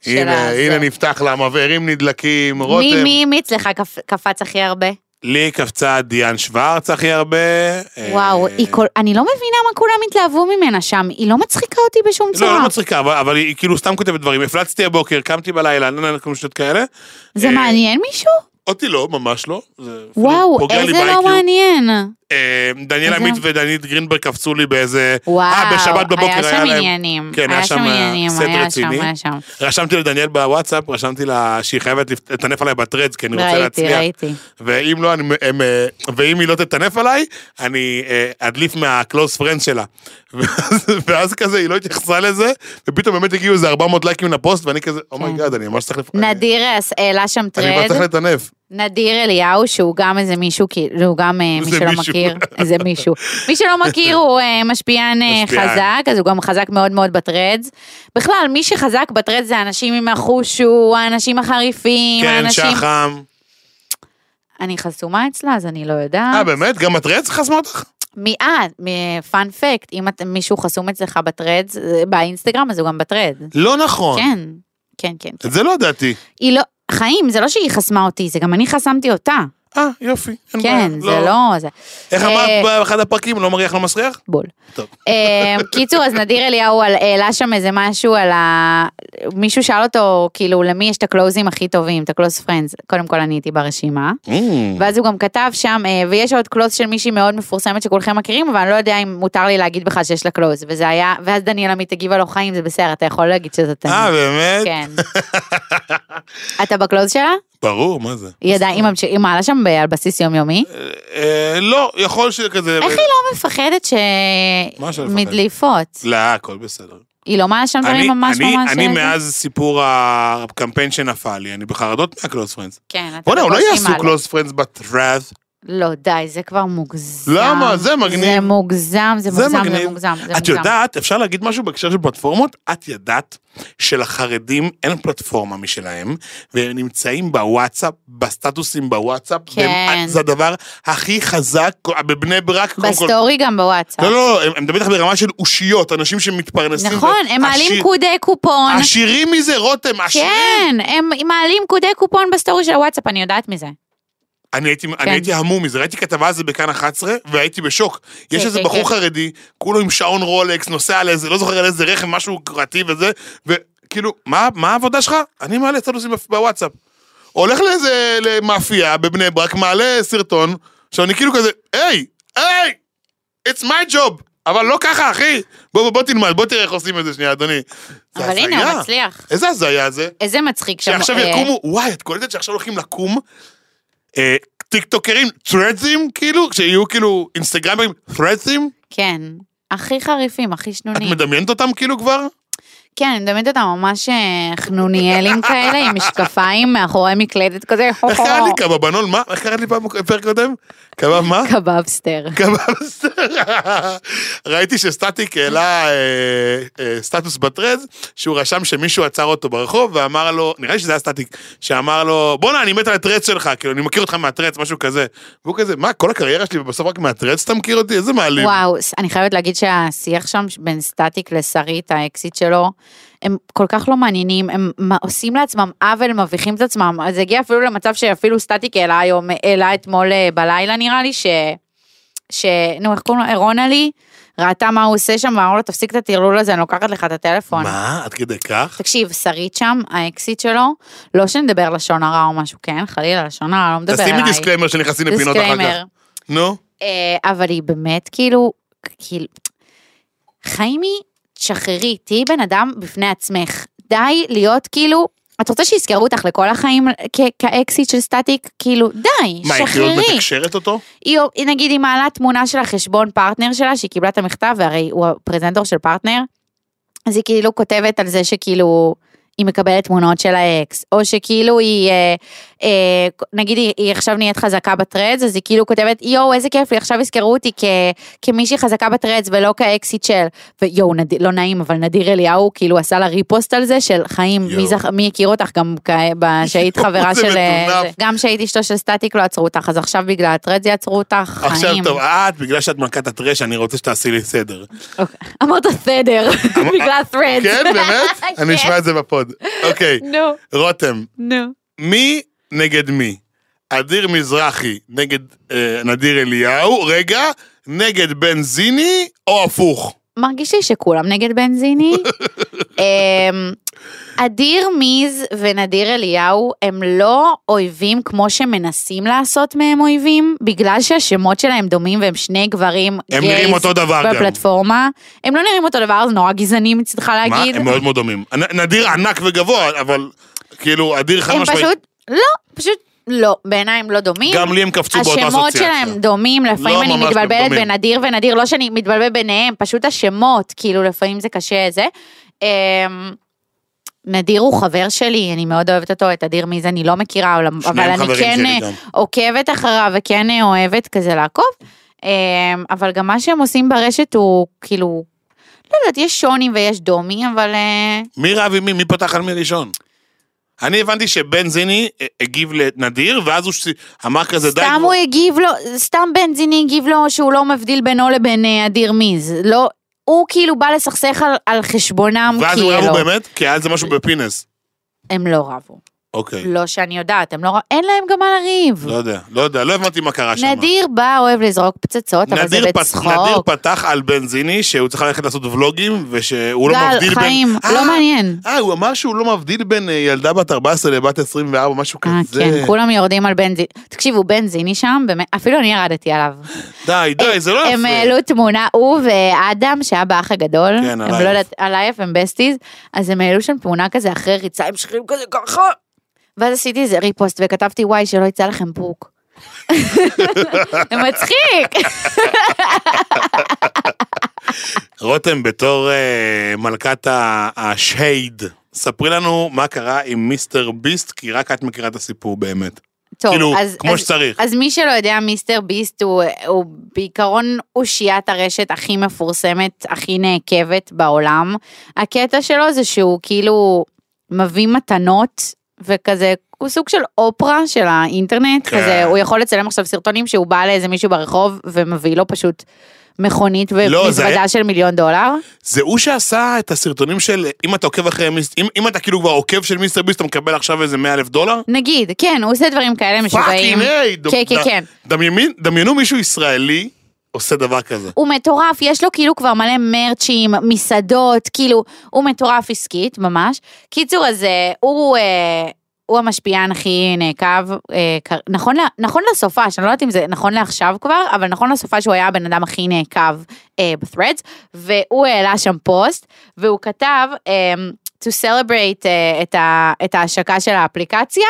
C: של
B: הנה,
C: הזה.
B: הנה נפתח לה, מבערים נדלקים,
C: מי-
B: רותם.
C: מי מי אצלך קפ- קפץ הכי הרבה?
B: לי קפצה דיאן שוורץ הכי הרבה. אה,
C: וואו, היא כל- אני לא מבינה מה כולם התלהבו ממנה שם, היא לא מצחיקה אותי בשום
B: לא,
C: צורה.
B: לא מצחיקה, אבל- אבל היא כאילו סתם כותבת דברים. הפלצתי הבוקר, קמתי בלילה, לא יודע, כל מיני שטויות כאלה.
C: זה
B: אה,
C: מעניין מישהו?
B: אותי לא, ממש לא. זה אפילו
C: וואו,
B: פוגע לי
C: איזה לא
B: ב-IQ.
C: מעניין.
B: אה, דניאל
C: איזה-
B: עמית ודנית גרינברג קפצו לי באיזה... אה,
C: וואו,
B: בשבת בבוקר היה
C: היה
B: להם...
C: שם עניינים.
B: כן, היה שם
C: עניינים,
B: סט
C: היה שם,
B: רציני.
C: היה שם.
B: רשמתי לדניאל בוואטסאפ, רשמתי לה שהיא חייבת לפ- לטנף עליי בטרדס, כי אני רוצה
C: ראיתי,
B: להצליח.
C: ראיתי.
B: ואם לא, אני, הם, אה, ואם היא לא תטנף עליי, אני אה, אדליף מהקלוס פרנד שלה. ואז, ואז כזה, היא לא התייחסה לזה, ופתאום באמת הגיעו איזה 400 לייקים לפוסט, ואני כזה, אומייגאד, אני ממש צריך... לפ-
C: כן. נדיר אז העלה שם
B: אני ממש
C: טרד,
B: צריך לטנף.
C: נדיר אליהו שהוא גם איזה מישהו, כאילו, הוא גם אה, מי
B: איזה
C: שלא
B: מישהו.
C: מכיר, איזה מישהו. מי שלא מכיר הוא אה, משפיען אה,
B: משפיען.
C: חזק, אז הוא גם חזק מאוד מאוד בטרדס. בכלל, מי שחזק בטרדס זה האנשים עם החושו, האנשים החריפים,
B: כן,
C: האנשים...
B: שחם.
C: אני חסומה אצלה, אז אני לא יודעת.
B: אה, באמת? גם הטרדס חסמה אותך?
C: מי- אה, פאנ פקט, אם את- מישהו חסום אצלך בטרדס, אה, באינסטגרם, אז הוא גם בטרד.
B: לא נכון.
C: כן, כן, כן.
B: את זה לא ידעתי.
C: היא לא, חיים, זה לא שהיא חסמה אותי, זה גם אני חסמתי אותה.
B: אה, יופי. אין
C: כן,
B: בעיה.
C: זה לא... זה-
B: איך
C: אה,
B: אמרת באחד הפרקים, לא מריח לא מסריח?
C: בול.
B: טוב.
C: אה, קיצור, אז נדיר אליהו על- העלה שם איזה משהו על ה... מישהו שאל אותו, כאילו, למי יש את הקלוזים הכי טובים, את הקלוז פרנדס. קודם כל, אני הייתי ברשימה.
B: Mm.
C: ואז הוא גם כתב שם, אה, ויש עוד קלוז של מישהי מאוד מפורסמת שכולכם מכירים, אבל אני לא יודע אם מותר לי להגיד בכלל שיש לה קלוז. וזה היה, ואז דניאל עמית הגיבה לו חיים, זה בסדר, אתה יכול להגיד שזאת אני.
B: אה, באמת?
C: כן. אתה בקלוז שלה?
B: ברור, מה זה?
C: היא עדיין, היא ממש- היא מעלה שם ב- על בסיס יומיומי.
B: אה, לא, יכול שכזה...
C: איך היא לא מפחדת ש...
B: מה יש לה לפחד?
C: מדליפות?
B: לא, הכל בסדר.
C: היא לא מעלה שם
B: אני,
C: דברים ממש
B: אני,
C: ממש... אה,
B: אני
C: זה?
B: מאז סיפור הקמפיין שנפל לי, אני בחרדות מהקלוס פרנדס.
C: כן, אתה
B: בוא'נה, לא אולי
C: בקושי
B: יעשו
C: מעלה.
B: קלוס פרנדס בטראט?
C: לא, די, זה כבר מוגזם.
B: למה? זה מגניב.
C: זה מוגזם, זה מוגזם, זה מוגזם. זה
B: את
C: מוגזם.
B: יודעת, אפשר להגיד משהו בהקשר של פלטפורמות? את ידעת שלחרדים אין פלטפורמה משלהם, והם נמצאים בוואטסאפ, בסטטוסים בוואטסאפ.
C: כן.
B: והם- זה הדבר הכי חזק, בבני ברק, קודם כל.
C: בסטורי גם בוואטסאפ.
B: לא, לא, הם- הם בטח ברמה של אושיות, אנשים שמתפרנסים.
C: נכון,
B: ו-
C: הם
B: עשיר-
C: מעלים קודי קופון.
B: עשירים מזה, רותם, עשירים.
C: אוקיי. כן, הם מעלים קודי קופון בסטורי של הוואטסאפ, אני יודעת מזה.
B: אני הייתי,
C: כן.
B: אני הייתי המום מזה, ראיתי כתבה על זה בכאן 11, והייתי בשוק. יש
C: כן,
B: איזה
C: כן,
B: בחור
C: כן.
B: חרדי, כולו עם שעון רולקס, נוסע על איזה, לא זוכר על איזה רכב, משהו יוקרתי וזה, וכאילו, מה, מה העבודה שלך? אני מעלה סטטוסים בפ- בוואטסאפ. הולך לאיזה, למאפייה בבני ברק, מעלה סרטון, שאני כאילו כזה, היי, היי, it's my job, אבל לא ככה, אחי. בוא, בוא, בוא תלמד, בוא תראה איך עושים את זה שנייה, אדוני. זה
C: אבל הנה,
B: הזיה.
C: הוא מצליח.
B: איזה הזיה זה?
C: איזה מצחיק שם.
B: שעכשיו
C: אה,
B: יקומו, וואי, את קולטת שעכשיו הולכים לקום אה, טיקטוקרים, טרדסים, כאילו, שיהיו כאילו אינסטגרמים, טרדסים?
C: כן. הכי חריפים, הכי
B: את
C: שנונים.
B: מדמיינת אותם כאילו כבר?
C: כן, אני מדמיינת אותם ממש אה, חנוניאלים כאלה, עם משקפיים מאחורי מקלדת כזה.
B: איך קראת לי קבב בנול? מה? איך קראת לי פעם בפרק קודם? קבב מה?
C: קבבסטר.
B: קבב סטרה. ראיתי שסטטיק העלה אה, אה, סטטוס בטרז, שהוא רשם שמישהו עצר אותו ברחוב ואמר לו, נראה לי שזה היה סטטיק, שאמר לו, בואנה, אני מת על הטרץ שלך, כאילו, אני מכיר אותך מהטרץ, משהו כזה. והוא כזה, מה, כל הקריירה שלי ובסוף רק מהטרץ אתה מכיר אותי? איזה מעליב.
C: וואו, ס- אני חייבת להגיד שהשיח שם ש- בין סטטיק לשרית, האקסיט שלו, הם כל כך לא מעניינים, הם מ- עושים לעצמם עוול, מביכים את עצמם. אז זה הגיע אפילו למצב שאפילו סטטיק העלה היום, העלה אתמול אה, בלילה נראה לי, ש... ש... נו, איך קוראים לו? רונלי, ראתה מה הוא עושה שם, ואמרו לו, תפסיק את הטרלול הזה, אני לוקחת לך את הטלפון.
B: מה? עד כדי כך?
C: תקשיב, שרית שם, האקסיט שלו, לא שנדבר לשון הרע או משהו, כן, חלילה, לשון הרע, לא מדבר אליי.
B: תשימי דיסקליימר שנכנסים לפינות אחר
C: דיסקליימר.
B: כך. נו.
C: אה, אבל היא באמת כאילו, כאילו, חיימי, תשחררי, תהיי בן אדם בפני עצמך. די להיות כאילו, את רוצה שיזכרו אותך לכל החיים כ- כאקסיט של סטטיק? כאילו, די,
B: מה, היא כאילו
C: שחררי.
B: מתקשרת אותו?
C: היא, היא נגיד, היא מעלה תמונה של החשבון פרטנר שלה, שהיא קיבלה את המכתב, והרי הוא הפרזנטור של פרטנר, אז היא כאילו כותבת על זה שכאילו... היא מקבלת תמונות של האקס, או שכאילו היא, אה, אה, נגיד היא, היא עכשיו נהיית חזקה בטרדס, אז היא כאילו כותבת, יואו, איזה כיף לי, עכשיו יזכרו אותי כ, כמישהי חזקה בטרדס ולא כאקסיט של, ויואו, נד, לא נעים, אבל נדיר אליהו כאילו עשה לה ריפוסט על זה, של חיים,
B: יואו.
C: מי, זכ, מי הכיר אותך גם כ, ב- שהיית חברה
B: זה
C: של... אה,
B: מטונף.
C: זה. גם שהיית אשתו של סטטיק לא עצרו אותך, אז עכשיו בגלל הטרדס יעצרו אותך, חיים.
B: עכשיו, טוב, את, בגלל שאת מלכת הטרש, אני רוצה שתעשי לי סדר.
C: אוקיי. אמרת סדר, בגלל הטרדס.
B: כן, באמת? אני אשמע את זה בפוד. אוקיי.
C: נו,
B: רותם,
C: נו.
B: מי נגד מי? אדיר מזרחי נגד אה, נדיר אליהו, רגע, נגד בנזיני או הפוך?
C: מרגיש לי שכולם נגד בנזיני. אמ, אדיר מיז ונדיר אליהו הם לא אויבים כמו שמנסים לעשות מהם אויבים, בגלל שהשמות שלהם דומים והם שני גברים
B: הם נראים אותו דבר גם.
C: בפלטפורמה. הם לא נראים אותו דבר, זה נורא גזעני מצדך
B: מה?
C: להגיד.
B: הם מאוד מאוד דומים. נ- נדיר ענק וגבוה, אבל כאילו, אדיר חד
C: הם
B: משמעית.
C: פשוט, לא, פשוט לא, בעיניי הם לא דומים.
B: גם לי הם קפצו באותה
C: השמות
B: אסוציאציה.
C: שלהם דומים, לפעמים
B: לא,
C: אני
B: ממש לא
C: מתבלבלת
B: דומים.
C: בין אדיר ונדיר, לא שאני מתבלבלת ביניהם, פשוט השמות, כאילו לפעמים זה קשה זה. אמ, נדיר הוא חבר שלי, אני מאוד אוהבת אותו, את אדיר מיז אני לא מכירה, אבל אבל
B: שניהם
C: אני
B: חברים
C: כן
B: שלי
C: אה,
B: גם.
C: עוקבת אחריו וכן אה, אוהבת כזה לעקוב. אמ, אבל גם מה שהם עושים ברשת הוא כאילו, לא יודעת, יש שוני ויש דומי, אבל... אה,
B: מי רב עם מי? מי פתח על מי ראשון? אני הבנתי שבן זיני אה, הגיב לנדיר, ואז הוא ש- אמר כזה די...
C: סתם
B: כבר."
C: הוא הגיב לו, סתם בנזיני הגיב לו שהוא לא מבדיל בינו לבין אה, אדיר מיז. לא, הוא כאילו בא לסכסך על, על חשבונם,
B: ואז הם
C: כאילו.
B: רבו באמת? כי היה זה משהו בפינס.
C: הם לא רבו.
B: אוקיי.
C: לא שאני יודעת, הם לא... ר- אין להם גם מה לריב.
B: לא יודע, לא יודע, לא הבנתי מה קרה שם.
C: נדיר בא, אוהב לזרוק פצצות, אבל זה
B: נדיר פת-
C: בצחוק.
B: נדיר פתח על בנזיני שהוא צריך ללכת לעשות ולוגים ושהוא לא
C: גל,
B: מבדיל בין...
C: חיים,
B: אה,
C: לא מעניין.
B: אה, הוא אמר שהוא לא מבדיל בין אה, ילדה בת 14 לבת 24, משהו
C: אה,
B: כזה.
C: כן, כולם יורדים על בנזיני. תקשיבו, בנזיני שם, באמת, אפילו אני ירדתי עליו.
B: די, די, זה לא יפה.
C: הם אה, העלו תמונה, הוא ואדם, שהיה באח הגדול,
B: כן,
C: הם
B: עלייך.
C: לא יודעת, עלייך, הם בסטיז, אז הם העלו שם תמונה כזה אחרי ריצה עם שרירים כזה ככה. ואז עשיתי איזה ריפוסט וכתבתי, וואי, שלא יצא לכם פוק. זה מצחיק.
B: רותם, בתור אה, מלכת ה- השייד, ספרי לנו מה קרה עם מיסטר ביסט, כי רק את מכירה את הסיפור באמת.
C: טוב,
B: כאילו,
C: אז-
B: כמו
C: אז-
B: שצריך.
C: אז מי שלא יודע, מיסטר ביסט הוא, הוא בעיקרון אושיית הרשת הכי מפורסמת, הכי נעקבת בעולם. הקטע שלו זה שהוא כאילו מביא מתנות וכזה, הוא סוג של אופרה של האינטרנט,
B: כן.
C: כן. כזה, הוא יכול לצלם עכשיו סרטונים שהוא בא לאיזה מישהו ברחוב ומביא לו פשוט מכונית
B: לא, זה
C: ומזוודה
B: היה-
C: של מיליון דולר.
B: זה הוא שעשה את הסרטונים של, אם אתה עוקב אחרי מיסט, אם, אם אתה כאילו כבר עוקב של מיסטר ביסט, אתה מקבל עכשיו איזה 100 אלף דולר?
C: נגיד, כן, הוא עושה דברים כאלה משוגעים.
B: פאקינג היי! דו-
C: כן, כן,
B: ד-
C: כן.
B: דמיימין- דמיינו מישהו ישראלי עושה דבר כזה.
C: הוא מטורף, יש לו כאילו כבר מלא מרצ'ים, מסעדות, כאילו, הוא מטורף עסקית, ממש. קיצור, אז אה, הוא, אה, הוא המשפיען הכי נעקב, אה, כ- נכון, ל- נכון לסופש, אני לא יודעת אם זה נכון לעכשיו כבר, אבל נכון לסופש הוא היה הבן אדם הכי נעקב אה, ב-threads, והוא העלה שם פוסט, והוא כתב, אה, to celebrate אה, את, ה, את ההשקה של האפליקציה,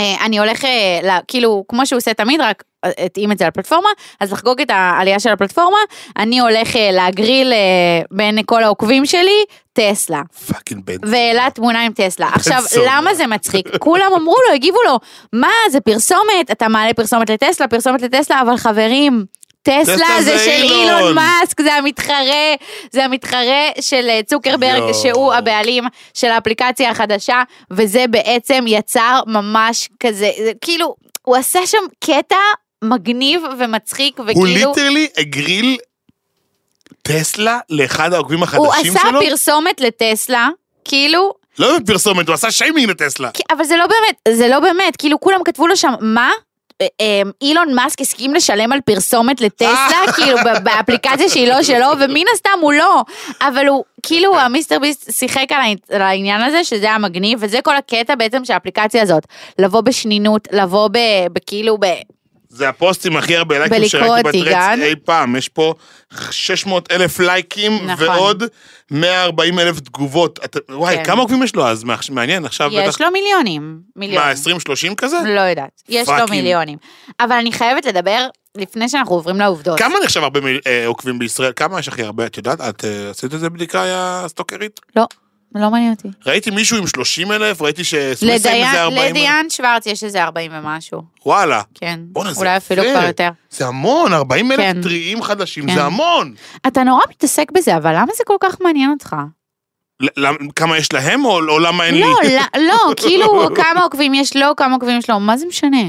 C: אה, אני הולך, אה, ל- כאילו, כמו שהוא עושה תמיד, רק אה, התאים את זה לפלטפורמה, אז לחגוג את העלייה של הפלטפורמה, אני הולך אה, להגריל אה, בין כל העוקבים שלי טסלה.
B: פאקינג בן.
C: והעלה תמונה עם טסלה. עכשיו,
B: זונה.
C: למה זה מצחיק? כולם אמרו לו, הגיבו לו, מה, זה פרסומת, אתה מעלה פרסומת לטסלה, פרסומת לטסלה, אבל חברים... טסלה
B: טסלה
C: זה
B: זה
C: של
B: אילון.
C: אילון מאסק, זה המתחרה, זה המתחרה של אה, צוקרברג,
B: יואו.
C: שהוא הבעלים של האפליקציה החדשה, וזה בעצם יצר ממש כזה, זה כאילו, הוא עשה שם קטע מגניב ומצחיק,
B: הוא
C: וכאילו,
B: ליטרלי הגריל טסלה לאחד העוקבים
C: הוא
B: החדשים
C: עשה
B: שלו?
C: פרסומת לטסלה, כאילו,
B: לא בפרסומת, הוא עשה שיימינג לטסלה.
C: כי- אבל זה לא באמת, זה לא באמת, כאילו כולם כתבו לו שם, מה? אה, אה, אילון מאסק הסכים לשלם על פרסומת לטסלה,
B: אה.
C: כאילו ב- באפליקציה שהיא לא שלו, ומן הסתם הוא לא. אבל הוא, כאילו
B: אה.
C: המיסטר ביסט שיחק על העני- על העניין הזה, שזה היה מגניב, וזה כל הקטע בעצם של האפליקציה הזאת. לבוא בשנינות, לבוא ב... בכאילו ב...
B: זה הפוסטים הכי הרבה לייקים
C: בלקרוא
B: שראיתי
C: אותי
B: בטרץ
C: גם.
B: אי פעם. יש פה 600 אלף לייקים
C: נכון.
B: ועוד 140 אלף תגובות. אתה- וואי,
C: כן.
B: כמה עוקבים יש לו אז? מעכש- מעניין, עכשיו בטח...
C: יש לו מיליונים. מיליון.
B: מה, 20-30 כזה?
C: לא יודעת. יש לו
B: פאקינג.
C: מיליונים. אבל אני חייבת לדבר, לפני שאנחנו עוברים לעובדות.
B: כמה נחשב הרבה מיל- אה, עוקבים בישראל? כמה יש הכי הרבה? את יודעת, את אה, עשית איזה בדיקה יא סטוקרית?
C: לא, לא מעניין אותי.
B: ראיתי מישהו עם 30 אלף, ראיתי שסוויסה עם איזה
C: לדיין,
B: 40 אלף.
C: לדיין שוורץ יש איזה 40 ומשהו,
B: וואלה.
C: כן.
B: בואנה, זה
C: אולי אפילו
B: יפה.
C: כבר יותר.
B: זה המון, 40 אלף
C: כן.
B: טריים חדשים,
C: כן.
B: זה המון.
C: אתה נורא מתעסק בזה, אבל למה זה כל כך מעניין אותך?
B: ל- למ- כמה יש להם או או למה אין לי?
C: לא, לא, לא, כאילו כמה עוקבים יש לו, כמה עוקבים יש לו, מה זה משנה?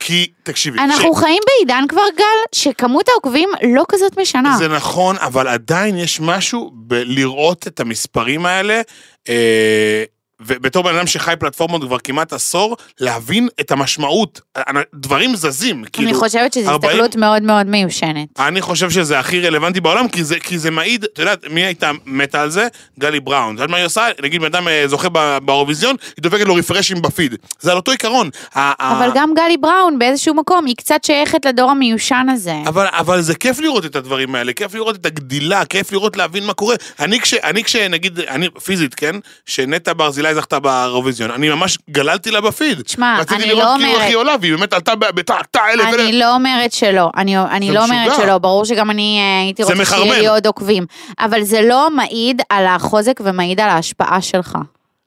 B: כי, תקשיבי,
C: אנחנו חיים בעידן כבר, גל, שכמות העוקבים לא כזאת משנה.
B: זה נכון, אבל עדיין יש משהו בלראות את המספרים האלה, אה, ובתור בן אדם שחי פלטפורמות כבר כמעט עשור, להבין את המשמעות. אנ- דברים זזים, כאילו.
C: אני חושבת שזו
B: 40
C: הסתכלות מאוד מאוד מיושנת.
B: אני חושב שזה הכי רלוונטי בעולם, כי זה, כי זה מעיד, את יודעת, מי הייתה מתה על זה? גלי בראון. את יודעת מה היא עושה? נגיד, בן אדם אה, זוכה ב- באירוויזיון, היא דופקת לו רפרשים בפיד. זה על אותו עיקרון. ה- ה-
C: אבל גם גלי בראון באיזשהו מקום, היא קצת שייכת לדור המיושן הזה.
B: אבל, אבל זה כיף לראות את הדברים האלה, כיף לראות את הגדילה, כיף לראות להבין מה קורה. אני כש... אני כש... נגיד, אני פיזית, כן? שנטע ברזילי זכתה באירוויזיון, אני ממש גללתי לה בפיד.
C: תשמע,
B: רציתי
C: אני
B: לראות
C: לא
B: כאילו
C: אומרת-
B: איך היא עולה, והיא באמת עלתה ב- בתא תא אלף אלף.
C: אני לא אומרת שלא, אני, אני
B: זה
C: לא
B: משוגע.
C: אומרת שלא, ברור שגם אני אה, הייתי
B: זה
C: רוצה שיהיה
B: מחרמן.
C: לי עוד עוקבים, אבל זה לא מעיד על החוזק ומעיד על ההשפעה שלך.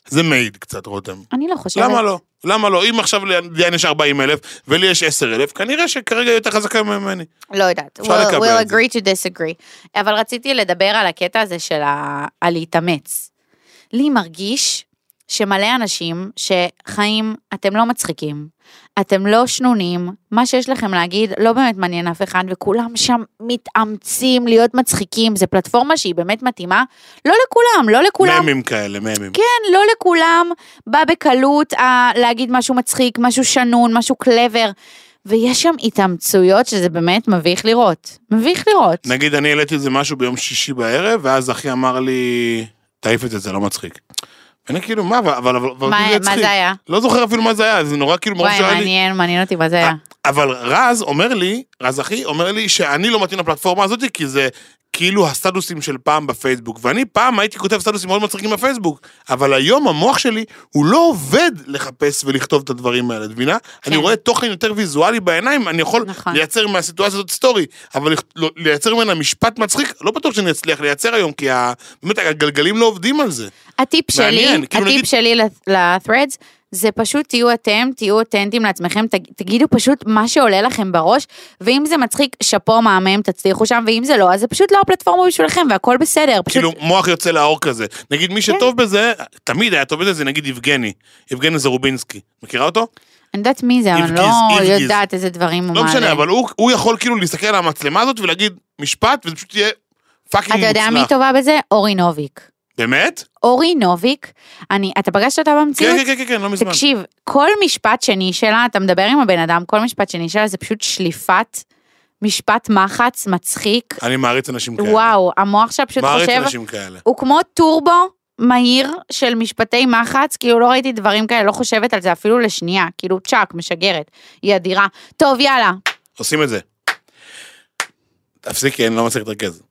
B: זה מעיד קצת, רותם.
C: אני לא חושבת.
B: למה לא? למה לא? אם עכשיו לדיין יש 40 אלף ולי יש 10 אלף, כנראה שכרגע היא יותר חזקה ממני.
C: לא יודעת.
B: אפשר
C: We'll,
B: לקבל
C: we'll
B: את זה.
C: agree to disagree. אבל רציתי לדבר על הקטע הזה של ה... על להתאמץ. לי מרגיש שמלא אנשים שחיים, אתם לא מצחיקים, אתם לא שנונים, מה שיש לכם להגיד לא באמת מעניין אף אחד, וכולם שם מתאמצים להיות מצחיקים, זו פלטפורמה שהיא באמת מתאימה, לא לכולם, לא לכולם.
B: ממים כאלה, ממים.
C: כן, לא לכולם בא בקלות ה- להגיד משהו מצחיק, משהו שנון, משהו קלבר, ויש שם התאמצויות שזה באמת מביך לראות. מביך לראות.
B: נגיד אני העליתי איזה משהו ביום שישי בערב, ואז אחי אמר לי, תעיף את זה, זה לא מצחיק. אני כאילו, מה, אבל- אבל... אבל-
C: מה-
B: אבל
C: מה זה היה?
B: לא זוכר אפילו מה זה היה, זה נורא כאילו מרוב
C: וואי,
B: שהיה לי-
C: מעניין, מעניין אותי מה זה
B: אה,
C: היה.
B: אבל רז אומר לי, רז אחי, אומר לי שאני לא מתאים לפלטפורמה הזאת, כי זה כאילו הסטטוסים של פעם בפייסבוק. ואני פעם הייתי כותב סטטוסים מאוד מצחיקים בפייסבוק, אבל היום המוח שלי, הוא לא עובד לחפש ולכתוב את הדברים האלה, את מבינה? אני רואה תוכן יותר ויזואלי בעיניים, אני יכול
C: כן. נכון.
B: לייצר מהסיטואציה הזאת סטורי, אבל לכ- לא- לייצר ממנה משפט מצחיק, לא בטוח שאני אצליח לייצר היום, כי ה- באמת הגלגלים לא עובדים על זה.
C: הטיפ שלי,
B: מעניין, כאילו
C: הטיפ
B: נגיד-
C: שלי ל- ל-threads, זה פשוט תהיו אתם, תהיו אותנטיים לעצמכם, תג- תגידו פשוט מה שעולה לכם בראש, ואם זה מצחיק, שאפו מהמם, תצליחו שם, ואם זה לא, אז זה פשוט לא הפלטפורמה בשבילכם, והכל בסדר, פשוט...
B: כאילו מוח יוצא לאור כזה. נגיד מי
C: כן.
B: שטוב בזה, תמיד היה טוב בזה, זה נגיד יבגני. יבגני זרובינסקי. מכירה אותו? לא
C: אני יודעת מי זה, אבל אני
B: איבגיז,
C: לא
B: איבגיז.
C: יודעת איזה דברים הוא
B: לא משנה,
C: מעלה.
B: אבל הוא- הוא יכול כאילו להסתכל על המצלמה הזאת ולהגיד משפט, וזה פשוט יהיה פאקינג
C: אתה
B: מוצלח.
C: יודע מי טובה בזה? אורי נוביק.
B: באמת?
C: אורי נוביק, אני, אתה פגשת אותה במציאות?
B: כן, כן, כן, כן, כן, לא מזמן.
C: תקשיב, כל משפט שני שלה, אתה מדבר עם הבן אדם, כל משפט שני שלה זה פשוט שליפת משפט מחץ מצחיק,
B: אני מעריץ אנשים כאלה.
C: וואו, המוח שלה פשוט
B: כן. מעריץ
C: חושב,
B: אנשים כאלה.
C: הוא כמו טורבו מהיר של משפטי מחץ, כאילו לא ראיתי דברים כאלה, לא חושבת על זה אפילו לשנייה, כאילו צ'אק, משגרת, היא אדירה. טוב, יאללה,
B: עושים את זה. תפסיקי, אני לא מצליח להתרכז.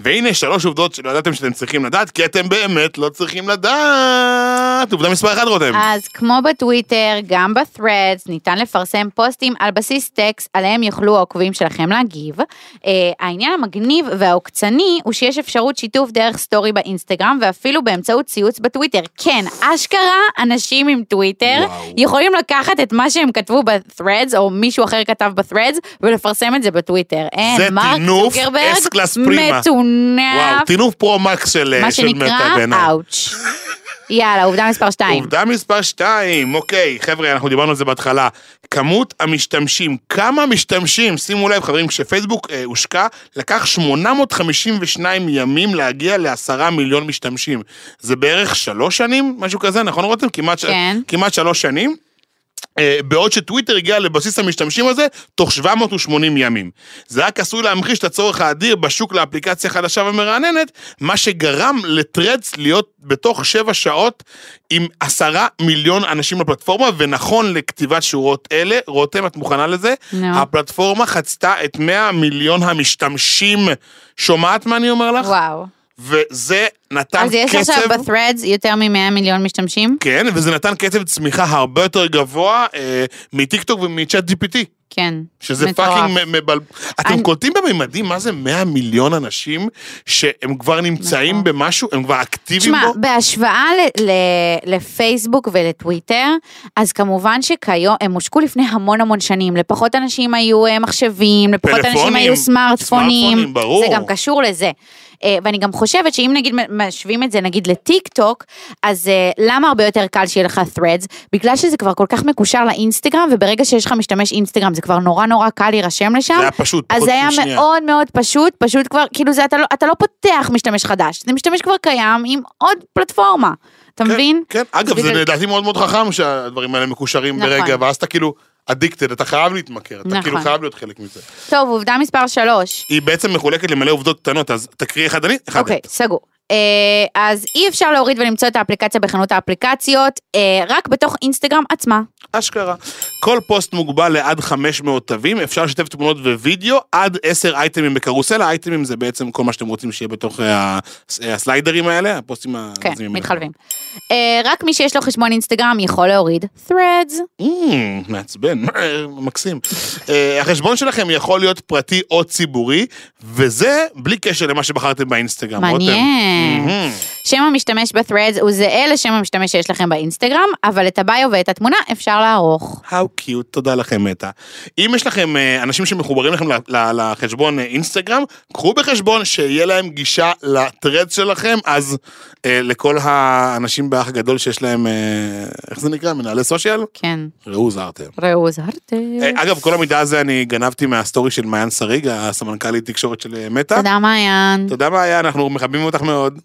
B: והנה שלוש עובדות שלא ידעתם שאתם צריכים לדעת, כי אתם באמת לא צריכים לדעת. עובדה מספר אחת, רותם.
C: אז כמו בטוויטר, גם ב-threads, ניתן לפרסם פוסטים על בסיס טקסט, עליהם יוכלו העוקבים שלכם להגיב. אה, העניין המגניב והעוקצני הוא שיש אפשרות שיתוף דרך סטורי באינסטגרם, ואפילו באמצעות ציוץ בטוויטר. כן, אשכרה אנשים עם טוויטר
B: וואו.
C: יכולים לקחת את מה שהם כתבו ב-threads, או מישהו אחר כתב ב-threads, ולפרסם את זה בטוויטר. אין,
B: זה
C: מרק
B: טינוף
C: צוקרברג
B: S class פרימה. וואו,
C: מטונף,
B: טינוף פרו-מקס של
C: מה
B: של
C: שנקרא, אה, אוקיי.
B: מרתק בעיניי.
C: אאוץ'. יאללה, עובדה מספר 2.
B: עובדה מספר 2, אוקיי, חבר'ה, אנחנו דיברנו על זה בהתחלה. כמות המשתמשים, כמה משתמשים, שימו לב, חברים, כשפייסבוק אה, הושקע, לקח 852 ימים להגיע לעשרה מיליון משתמשים. זה בערך שלוש שנים, משהו כזה, נכון רותם? כמעט, ש-
C: כן.
B: כמעט שלוש שנים. אה, בעוד שטוויטר הגיע לבסיס המשתמשים הזה תוך 780 ימים. זה רק עשוי להמחיש את הצורך האדיר בשוק לאפליקציה חדשה ומרעננת, מה שגרם לטרדס להיות בתוך 7 שעות עם 10 מיליון אנשים לפלטפורמה, ונכון לכתיבת שורות אלה, רותם, את מוכנה לזה?
C: נו.
B: הפלטפורמה חצתה את 100 מיליון המשתמשים. שומעת מה אני אומר לך?
C: וואו.
B: וזה נתן קצב...
C: אז יש עכשיו ב-threads יותר מ-100 מיליון משתמשים?
B: כן, וזה נתן קצב צמיחה הרבה יותר גבוה אה, מטיקטוק ומצ'אט GPT,
C: כן.
B: שזה
C: מטורף.
B: פאקינג מ- מבל... אתם
C: אני-
B: קולטים בממדים מה זה 100 מיליון אנשים שהם כבר נמצאים
C: מטורף.
B: במשהו, הם כבר אקטיביים
C: תשמע,
B: בו?
C: בהשוואה ל- ל- לפייסבוק ולטוויטר, אז כמובן שכיום, הם הושקו לפני המון המון שנים. לפחות אנשים היו אה, מחשבים, לפחות אנשים
B: פלאפונים,
C: היו סמארטפונים.
B: סמארטפונים, ברור.
C: זה גם קשור לזה. אה, ואני גם חושבת שאם נגיד מ- משווים את זה נגיד לטיק טוק, אז אה, למה הרבה יותר קל שיהיה לך threads? בגלל שזה כבר כל כך מקושר לאינסטגרם, וברגע שיש לך משתמש אינסטגרם זה כבר נורא נורא קל להירשם לשם.
B: זה היה פשוט,
C: אז
B: פחות
C: זה היה
B: משנייה.
C: מאוד מאוד פשוט, פשוט כבר, כאילו זה, אתה לא, אתה לא פותח משתמש חדש, זה משתמש כבר קיים עם עוד פלטפורמה, אתה
B: כן,
C: מבין?
B: כן, אגב, זה
C: בגלל-
B: לדעתי מאוד מאוד חכם שהדברים האלה מקושרים
C: נכון.
B: ברגע, ואז אתה כאילו אדיקטד, אתה חייב להתמכר, אתה
C: נכון.
B: כאילו חייב להיות חלק מזה.
C: טוב, עובדה מספר שלוש.
B: היא בעצם מחולקת למלא עובדות קטנות, אז תקריא אחד אני, אחד
C: אוקיי,
B: את.
C: סגור. אה, אז אי אפשר להוריד ולמצוא את האפליקציה בחנות האפליקציות, אה, רק בתוך אינסטגרם עצמה.
B: אשכרה. כל פוסט מוגבל לעד 500 תווים, אפשר לשתף תמונות ווידאו עד 10 אייטמים בקרוסלה, אייטמים זה בעצם כל מה שאתם רוצים שיהיה בתוך אה, הס- אה, הסליידרים האלה, הפוסטים ה...
C: כן, מתחלבים. אה, רק מי שיש לו חשבון אינסטגרם יכול להוריד threads.
B: אמ, מעצבן, מקסים. אה, החשבון שלכם יכול להיות פרטי או ציבורי, וזה בלי קשר למה שבחרתם באינסטגרם. רותם.
C: מעניין.
B: אמ,
C: שם המשתמש ב-threads הוא זהה לשם המשתמש שיש לכם באינסטגרם, אבל את הביו ואת התמונה אפשר לערוך.
B: How cute, תודה לכם מטה. אם יש לכם אה, אנשים שמחוברים לכם ל- ל- לחשבון אה, אינסטגרם, קחו בחשבון שיהיה להם גישה לטרד שלכם, אז אה, לכל האנשים באח הגדול שיש להם, אה, איך זה נקרא? מנהלי סושיאל?
C: כן,
B: ראו זהרתם.
C: ראו הוזהרתם.
B: אה, אגב, כל המידע הזה אני גנבתי מהסטורי של מעיין שריג, הסמנכ"לית תקשורת של אה, מטא.
C: תודה מעיין.
B: תודה מאיה, אנחנו מכבדים אותך מאוד.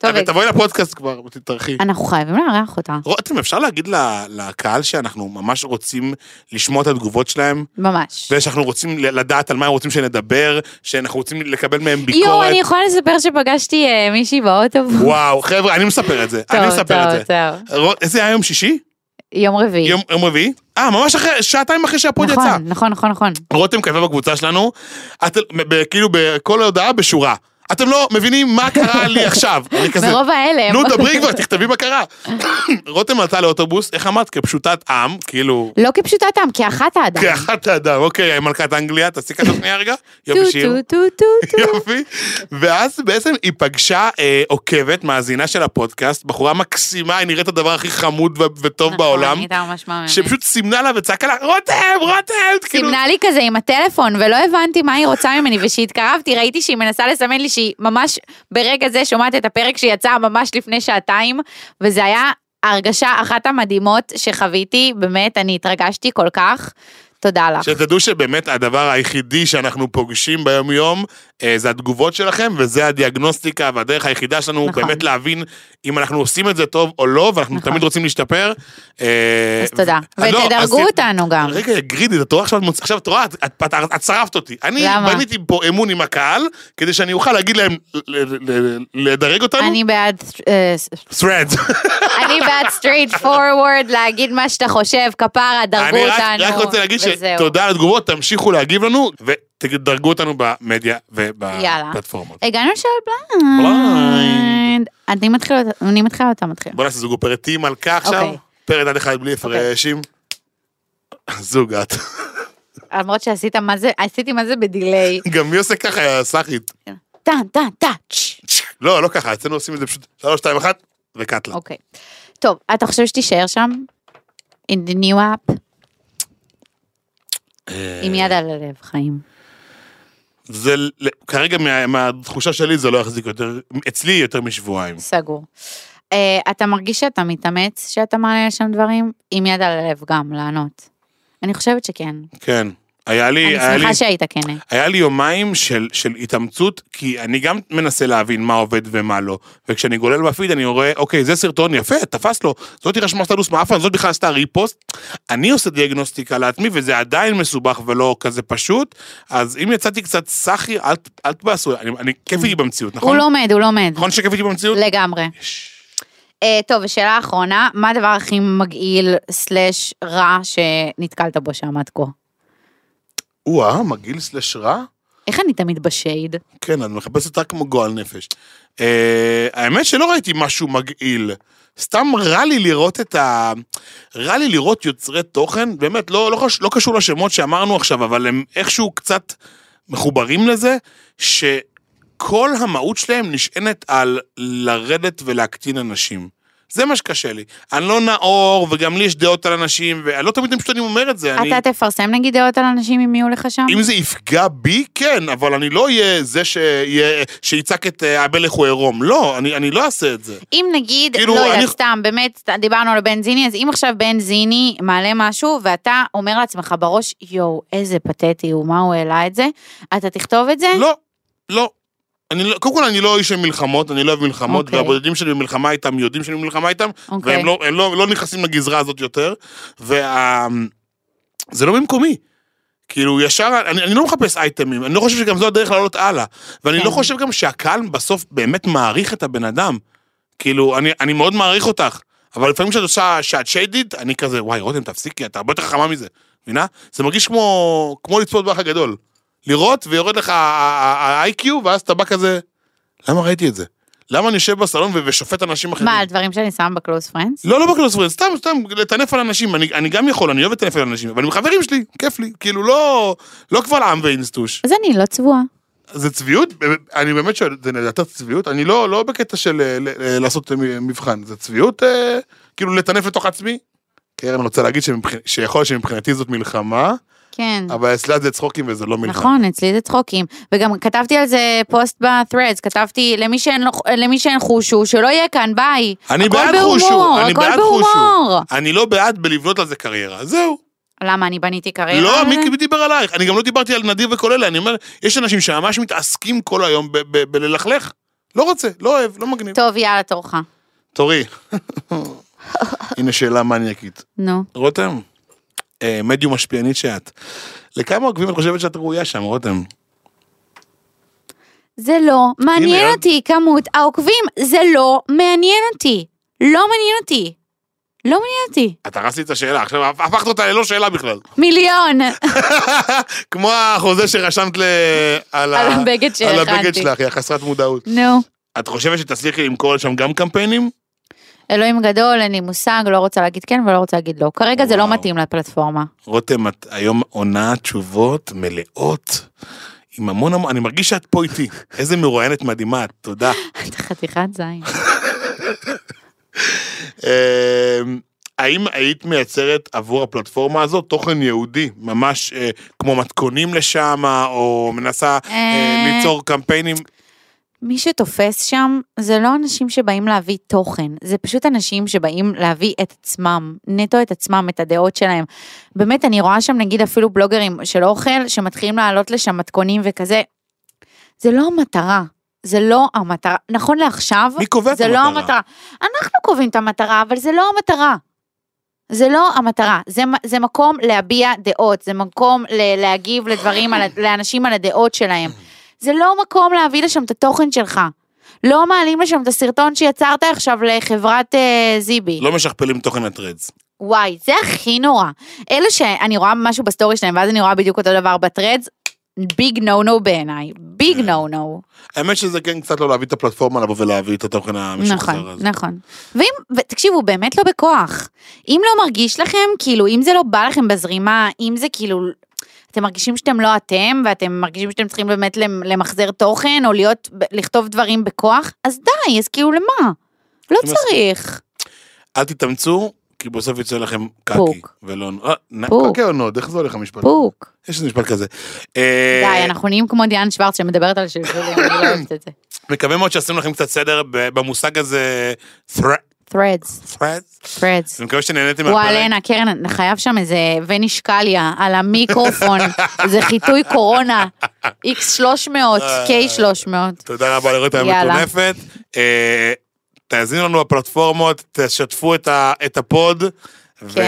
C: טוב,
B: אבל תבואי לפודקאסט כבר, תתארחי.
C: אנחנו חייבים לארח אותה,
B: רותם, אפשר להגיד ל- לקהל שאנחנו ממש רוצים לשמוע את התגובות שלהם?
C: ממש.
B: ושאנחנו רוצים לדעת על מה הם רוצים שנדבר, שאנחנו רוצים לקבל מהם ביקורת.
C: יואו, אני יכולה לספר שפגשתי אה, מישהי באוטובוס.
B: וואו, חבר'ה, אני מספר את זה. אני מספר את זה.
C: טוב,
B: רו- איזה היה יום שישי?
C: יום רביעי.
B: יום יום רביעי? אה, ממש אחרי, שעתיים אחרי שהפוד
C: נכון,
B: יצא.
C: נכון, נכון, נכון.
B: רותם כתבה בקבוצה שלנו, את, ב- כאילו בכל הודעה בשורה. אתם לא מבינים מה קרה לי עכשיו. אני כזה,
C: מרוב ההלם.
B: נו, דברי כבר, תכתבי מה קרה. רותם עלתה לאוטובוס, איך אמרת? כפשוטת עם, כאילו...
C: לא כפשוטתם, כאחת האדם.
B: כאחת האדם, אוקיי, מלכת אנגליה, תעשי ככה שנייה רגע.
C: טו
B: יופי שיר.
C: טו טו טו טו.
B: יופי. ואז בעצם היא פגשה אה, עוקבת, מאזינה של הפודקאסט, בחורה מקסימה, היא נראית הדבר הכי חמוד ו- וטוב
C: נכון,
B: בעולם,
C: הייתה ממש מהממת.
B: שפשוט סימנה לה וצעקה לה, רותם, רותם! כאילו,
C: סימנה לי כזה עם הטלפון, ולא הבנתי מה היא רוצה ממני, וכשהתקרבתי ראיתי שהיא מנסה לסמן לי שהיא ממש ברגע זה שומעת את הפרק שיצא ממש לפני שעתיים, וזה היה הרגשה אחת המדהימות שחוויתי, באמת, אני התרגשתי כל כך, תודה לך.
B: שתדעו שבאמת הדבר היחידי שאנחנו פוגשים ביום-יום אה, זה התגובות שלכם, וזה הדיאגנוסטיקה, והדרך היחידה שלנו
C: נכון.
B: נכון. באמת להבין אם אנחנו עושים את זה טוב או לא, ואנחנו
C: נכון.
B: נכון. תמיד רוצים להשתפר. אה,
C: אז תודה.
B: אה, לא, אז
C: ותדרגו
B: ת-
C: אותנו גם.
B: רגע, גרידי, את רואה עכשיו, מוצ- עכשיו את רואה, את, את, את, את שרפת אותי. אני
C: למה?
B: בניתי פה אמון עם הקהל, כדי שאני אוכל להגיד להם, ל- ל- ל- לדרג אותנו.
C: אני בעד, אה,
B: threads.
C: אני בעד סטרייט פורוורד, להגיד מה שאתה חושב, כפרה, דרגו
B: אני רק,
C: אותנו,
B: רק רוצה להגיד
C: וזהו.
B: שתודה על התגובות, תמשיכו להגיב לנו, ותדרגו אותנו במדיה
C: יאללה.
B: ובפלטפורמות.
C: הגענו לשאול בליינד.
B: בליינד.
C: אני מתחילה, אותה- אני מתחילה אותה מתחילה.
B: בוא נעשה זוג פרטים על כך עכשיו.
C: אוקיי.
B: פרד עד אחד בלי
C: אוקיי.
B: הפרשים. זוג את.
C: למרות שעשית מה זה, עשיתי מה זה בדיליי.
B: גם מי עושה ככה, יא סאחית?
C: טאן, טאן, טאץ'.
B: לא, לא ככה, אצלנו עושים את זה פשוט שלוש, שתיים, אחת, וקטלה.
C: אוקיי. טוב, אתה חושב שתישאר שם? In the new app? עם יד על הלב, חיים.
B: אה, זה, ל- כרגע מה- מהתחושה שלי זה לא יחזיק יותר, אצלי יותר משבועיים.
C: סגור. אה, אתה מרגיש שאתה מתאמץ שאתה מעלה לשם דברים? עם יד על הלב גם, לענות. אני חושבת שכן.
B: כן. היה לי,
C: אני
B: היה לי,
C: שמחה שהיית כן. כנה.
B: היה לי יומיים של, של התאמצות, כי אני גם מנסה להבין מה עובד ומה לא. וכשאני גולל בפיד אני רואה, אוקיי, זה סרטון יפה, תפס לו. זאת רשמה סטטוס מעפן, זאת בכלל עשתה ריפוסט. אני עושה דיאגנוסטיקה לעצמי, וזה עדיין מסובך ולא כזה פשוט. אז אם יצאתי קצת סאחי, אל, ת- אל תבאסו, אני, אני כיף לי במציאות, נכון?
C: הוא לא- לומד, הוא לומד.
B: נכון שכיף לי במציאות?
C: לגמרי.
B: יש.
C: אה, טוב, ושאלה אחרונה, מה הדבר הכי מגעיל סלאש רע שנתקלת בו שם עד כה?
B: או-אה, מגעיל סלש רע?
C: איך אני תמיד בשייד?
B: כן, את מחפשת רק כמו גועל נפש. אה, האמת שלא ראיתי משהו מגעיל. סתם רע לי לראות את ה... רע לי לראות יוצרי תוכן, באמת, לא, לא, חש... לא קשור לשמות שאמרנו עכשיו, אבל הם איכשהו קצת מחוברים לזה, שכל המהות שלהם נשענת על לרדת ולהקטין אנשים. זה מה שקשה לי. אני לא נאור, וגם לי יש דעות על אנשים, ולא תמיד פשוט אני אומר את זה. אני...
C: אתה תפרסם נגיד דעות על אנשים אם יהיו לך שם?
B: אם זה יפגע בי, כן, אבל אני לא אהיה זה שיה- שיצעק את אה, המלך הוא עירום. לא, אני, אני לא אעשה את זה.
C: אם נגיד,
B: כאילו,
C: לא יודעת,
B: אני-
C: סתם, באמת, דיברנו על בנזיני, אז אם עכשיו בנזיני מעלה משהו, ואתה אומר לעצמך בראש, יואו, איזה פתטי הוא, מה הוא העלה את זה, אתה תכתוב את זה?
B: לא, לא. אני לא, קודם כל, אני לא איש של מלחמות, אני לא אוהב מלחמות,
C: אוקיי.
B: והבודדים שלי במלחמה איתם יודעים שאני במלחמה איתם,
C: אוקיי.
B: והם לא, הם לא, לא נכנסים לגזרה הזאת יותר, וה... זה לא במקומי. כאילו, ישר, אני, אני לא מחפש אייטמים, אני לא חושב שגם זו הדרך לעלות הלאה. ואני
C: כן.
B: לא חושב גם שהקהל בסוף באמת מעריך את הבן אדם. כאילו, אני, אני מאוד מעריך אותך, אבל לפעמים כשאת עושה, שאת שיידית, אני כזה, וואי, רותם, תפסיקי, אתה הרבה יותר חכמה מזה, מבינה? זה מרגיש כמו, כמו לצפות באח הגדול. לראות, ויורד לך ה- ה- ה-IQ, ואז אתה בא כזה, למה ראיתי את זה? למה אני יושב בסלון ו- ושופט אנשים אחרים?
C: מה, על דברים שאני שם בקלוס פרנדס?
B: לא, לא בקלוס פרנד, סתם, סתם, לטנף על אנשים, אני, אני גם יכול, אני אוהב לטנף על אנשים, אבל עם חברים שלי, כיף לי, כאילו לא, לא קבל עם ואינסטוש.
C: אז אני לא צבועה.
B: זה צביעות? אני באמת שואל, זה לדעתך צביעות? אני לא, לא בקטע של אה, ל- אה, לעשות מ- מבחן, זה צביעות אה, כאילו לטנף לתוך עצמי? קרן רוצה להגיד שמבח... שיכול להיות שמבחינתי זאת מלחמה,
C: כן.
B: אבל אצלה זה צחוקים וזה לא מלחמה.
C: נכון, אצלי זה צחוקים. וגם כתבתי על זה פוסט ב-threads, כתבתי למי שאין, לו, למי שאין חושו, שלא יהיה כאן, ביי.
B: אני
C: הכל
B: בעד
C: בהומור,
B: חושו, אני
C: הכל
B: בעד
C: בהומור.
B: חושו. אני לא בעד בלבנות על זה קריירה, זהו.
C: למה, אני בניתי קריירה?
B: לא,
C: על זה?
B: מי דיבר עלייך? אני גם לא דיברתי על נדיר וכל אלה, אני אומר, יש אנשים שממש מתעסקים כל היום ב- ב- בללכלך. לא רוצה, לא אוהב, לא מגניב.
C: טוב, יאללה, תורך.
B: תורי. הנה שאלה מניאקית.
C: נו.
B: רותם, אה, מדיום משפיענית שאת, לכמה עוקבים את חושבת שאת ראויה שם, רותם?
C: זה לא מעניין
B: הנה,
C: אותי כמות העוקבים, זה לא מעניין אותי. לא מעניין אותי. לא מעניין אותי.
B: את הרסת לי את השאלה, עכשיו הפ- הפכת אותה ללא שאלה בכלל.
C: מיליון.
B: כמו החוזה שרשמת ל... על ה-
C: על הבגד
B: על
C: שהכנתי.
B: הבגד שלך, היא חסרת מודעות.
C: נו.
B: את חושבת שתצליחי למכור שם גם קמפיינים?
C: אלוהים גדול, אין לי מושג, לא רוצה להגיד כן ולא רוצה להגיד לא. כרגע זה לא
B: וואו.
C: מתאים לפלטפורמה.
B: רותם, את היום עונה תשובות מלאות, עם המון המון, אני מרגיש שאת פה איתי. איזה מרואיינת מדהימה, את, תודה.
C: אתה חתיכת זין.
B: אה, האם היית מייצרת עבור הפלטפורמה הזאת תוכן יהודי, ממש אה, כמו מתכונים לשם, או מנסה אה,
C: אה.
B: ליצור קמפיינים?
C: מי שתופס שם, זה לא אנשים שבאים להביא תוכן, זה פשוט אנשים שבאים להביא את עצמם, נטו את עצמם, את הדעות שלהם. באמת, אני רואה שם נגיד אפילו בלוגרים של אוכל, שמתחילים לעלות לשם מתכונים וכזה. זה לא המטרה. זה לא המטרה, נכון לעכשיו,
B: מי קובע את
C: זה לא
B: המטרה?
C: המטרה. אנחנו קובעים את המטרה, אבל זה לא המטרה. זה לא המטרה, זה, מ- זה מקום להביע דעות, זה מקום ל- להגיב לדברים, על, ה- לאנשים על הדעות שלהם. זה לא מקום להביא לשם את התוכן שלך. לא מעלים לשם את הסרטון שיצרת עכשיו לחברת אה, זיבי.
B: לא משכפלים תוכן הטרדס.
C: וואי, זה הכי נורא. אלה שאני רואה משהו בסטורי שלהם, ואז אני רואה בדיוק אותו דבר בטרדס, ביג נו נו בעיניי. ביג נו נו.
B: האמת שזה כן קצת לא להביא את הפלטפורמה לבוא ולהביא את התוכן המשחזר
C: נכון,
B: הזה.
C: נכון. ואם, תקשיבו, באמת לא בכוח. אם לא מרגיש לכם, כאילו, אם זה לא בא לכם בזרימה, אם זה כאילו, אתם מרגישים שאתם לא אתם, ואתם מרגישים שאתם צריכים באמת למ- למחזר תוכן, או להיות, ב- לכתוב דברים בכוח, אז די, אז כאילו למה? לא
B: אני
C: צריך.
B: אל תתאמצו, כי בסוף יצא לכם קקי.
C: פוק.
B: ולא... אה, נ-
C: פוק.
B: קקי או נוד, איך זה הולך המשפט?
C: פוק.
B: יש איזה משפט כזה. אה,
C: די, אנחנו נהיים כמו דיאן שוורץ שמדברת על שלשולים, אני לא אוהבת את זה.
B: מקווה מאוד שעשינו לכם קצת סדר ב- במושג הזה, threat,
C: threads,
B: threat.
C: threads.
B: אני מקווה שנהניתם
C: וואלה, הנה, קרן, חייב שם איזה ונישקליה על המיקרופון, איזה חיטוי קורונה, X300,
B: אה.
C: K300.
B: תודה רבה לרותם
C: יאללה.
B: המטונפת. אה, תאזינו לנו בפלטפורמות, תשתפו את ה- את הפוד. ו- ואנחנו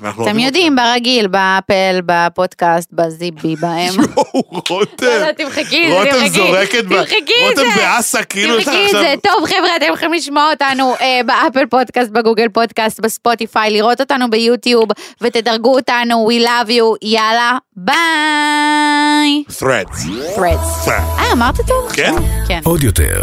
C: כן. אתם
B: אוהבים
C: יודעים, ברגיל, באפל, בפודקאסט, בזיבי, בהם.
B: יואו, רותם.
C: לא, לא, תמחקי את זה,
B: רותם
C: תמחקי.
B: זורקת, ב-
C: תמחקי את זה.
B: רותם באסה, כאילו יש לך
C: תמחקי את
B: עכשיו...
C: זה, טוב חבר'ה, אתם יכולים לשמוע אותנו אה, באפל פודקאסט, בגוגל פודקאסט, בספוטיפיי, לראות אותנו ביוטיוב, ותדרגו אותנו, we love you, יאללה, ביי.
B: threads.
C: threads. אה, אמרת טוב עכשיו.
B: כן?
C: כן.
A: עוד יותר,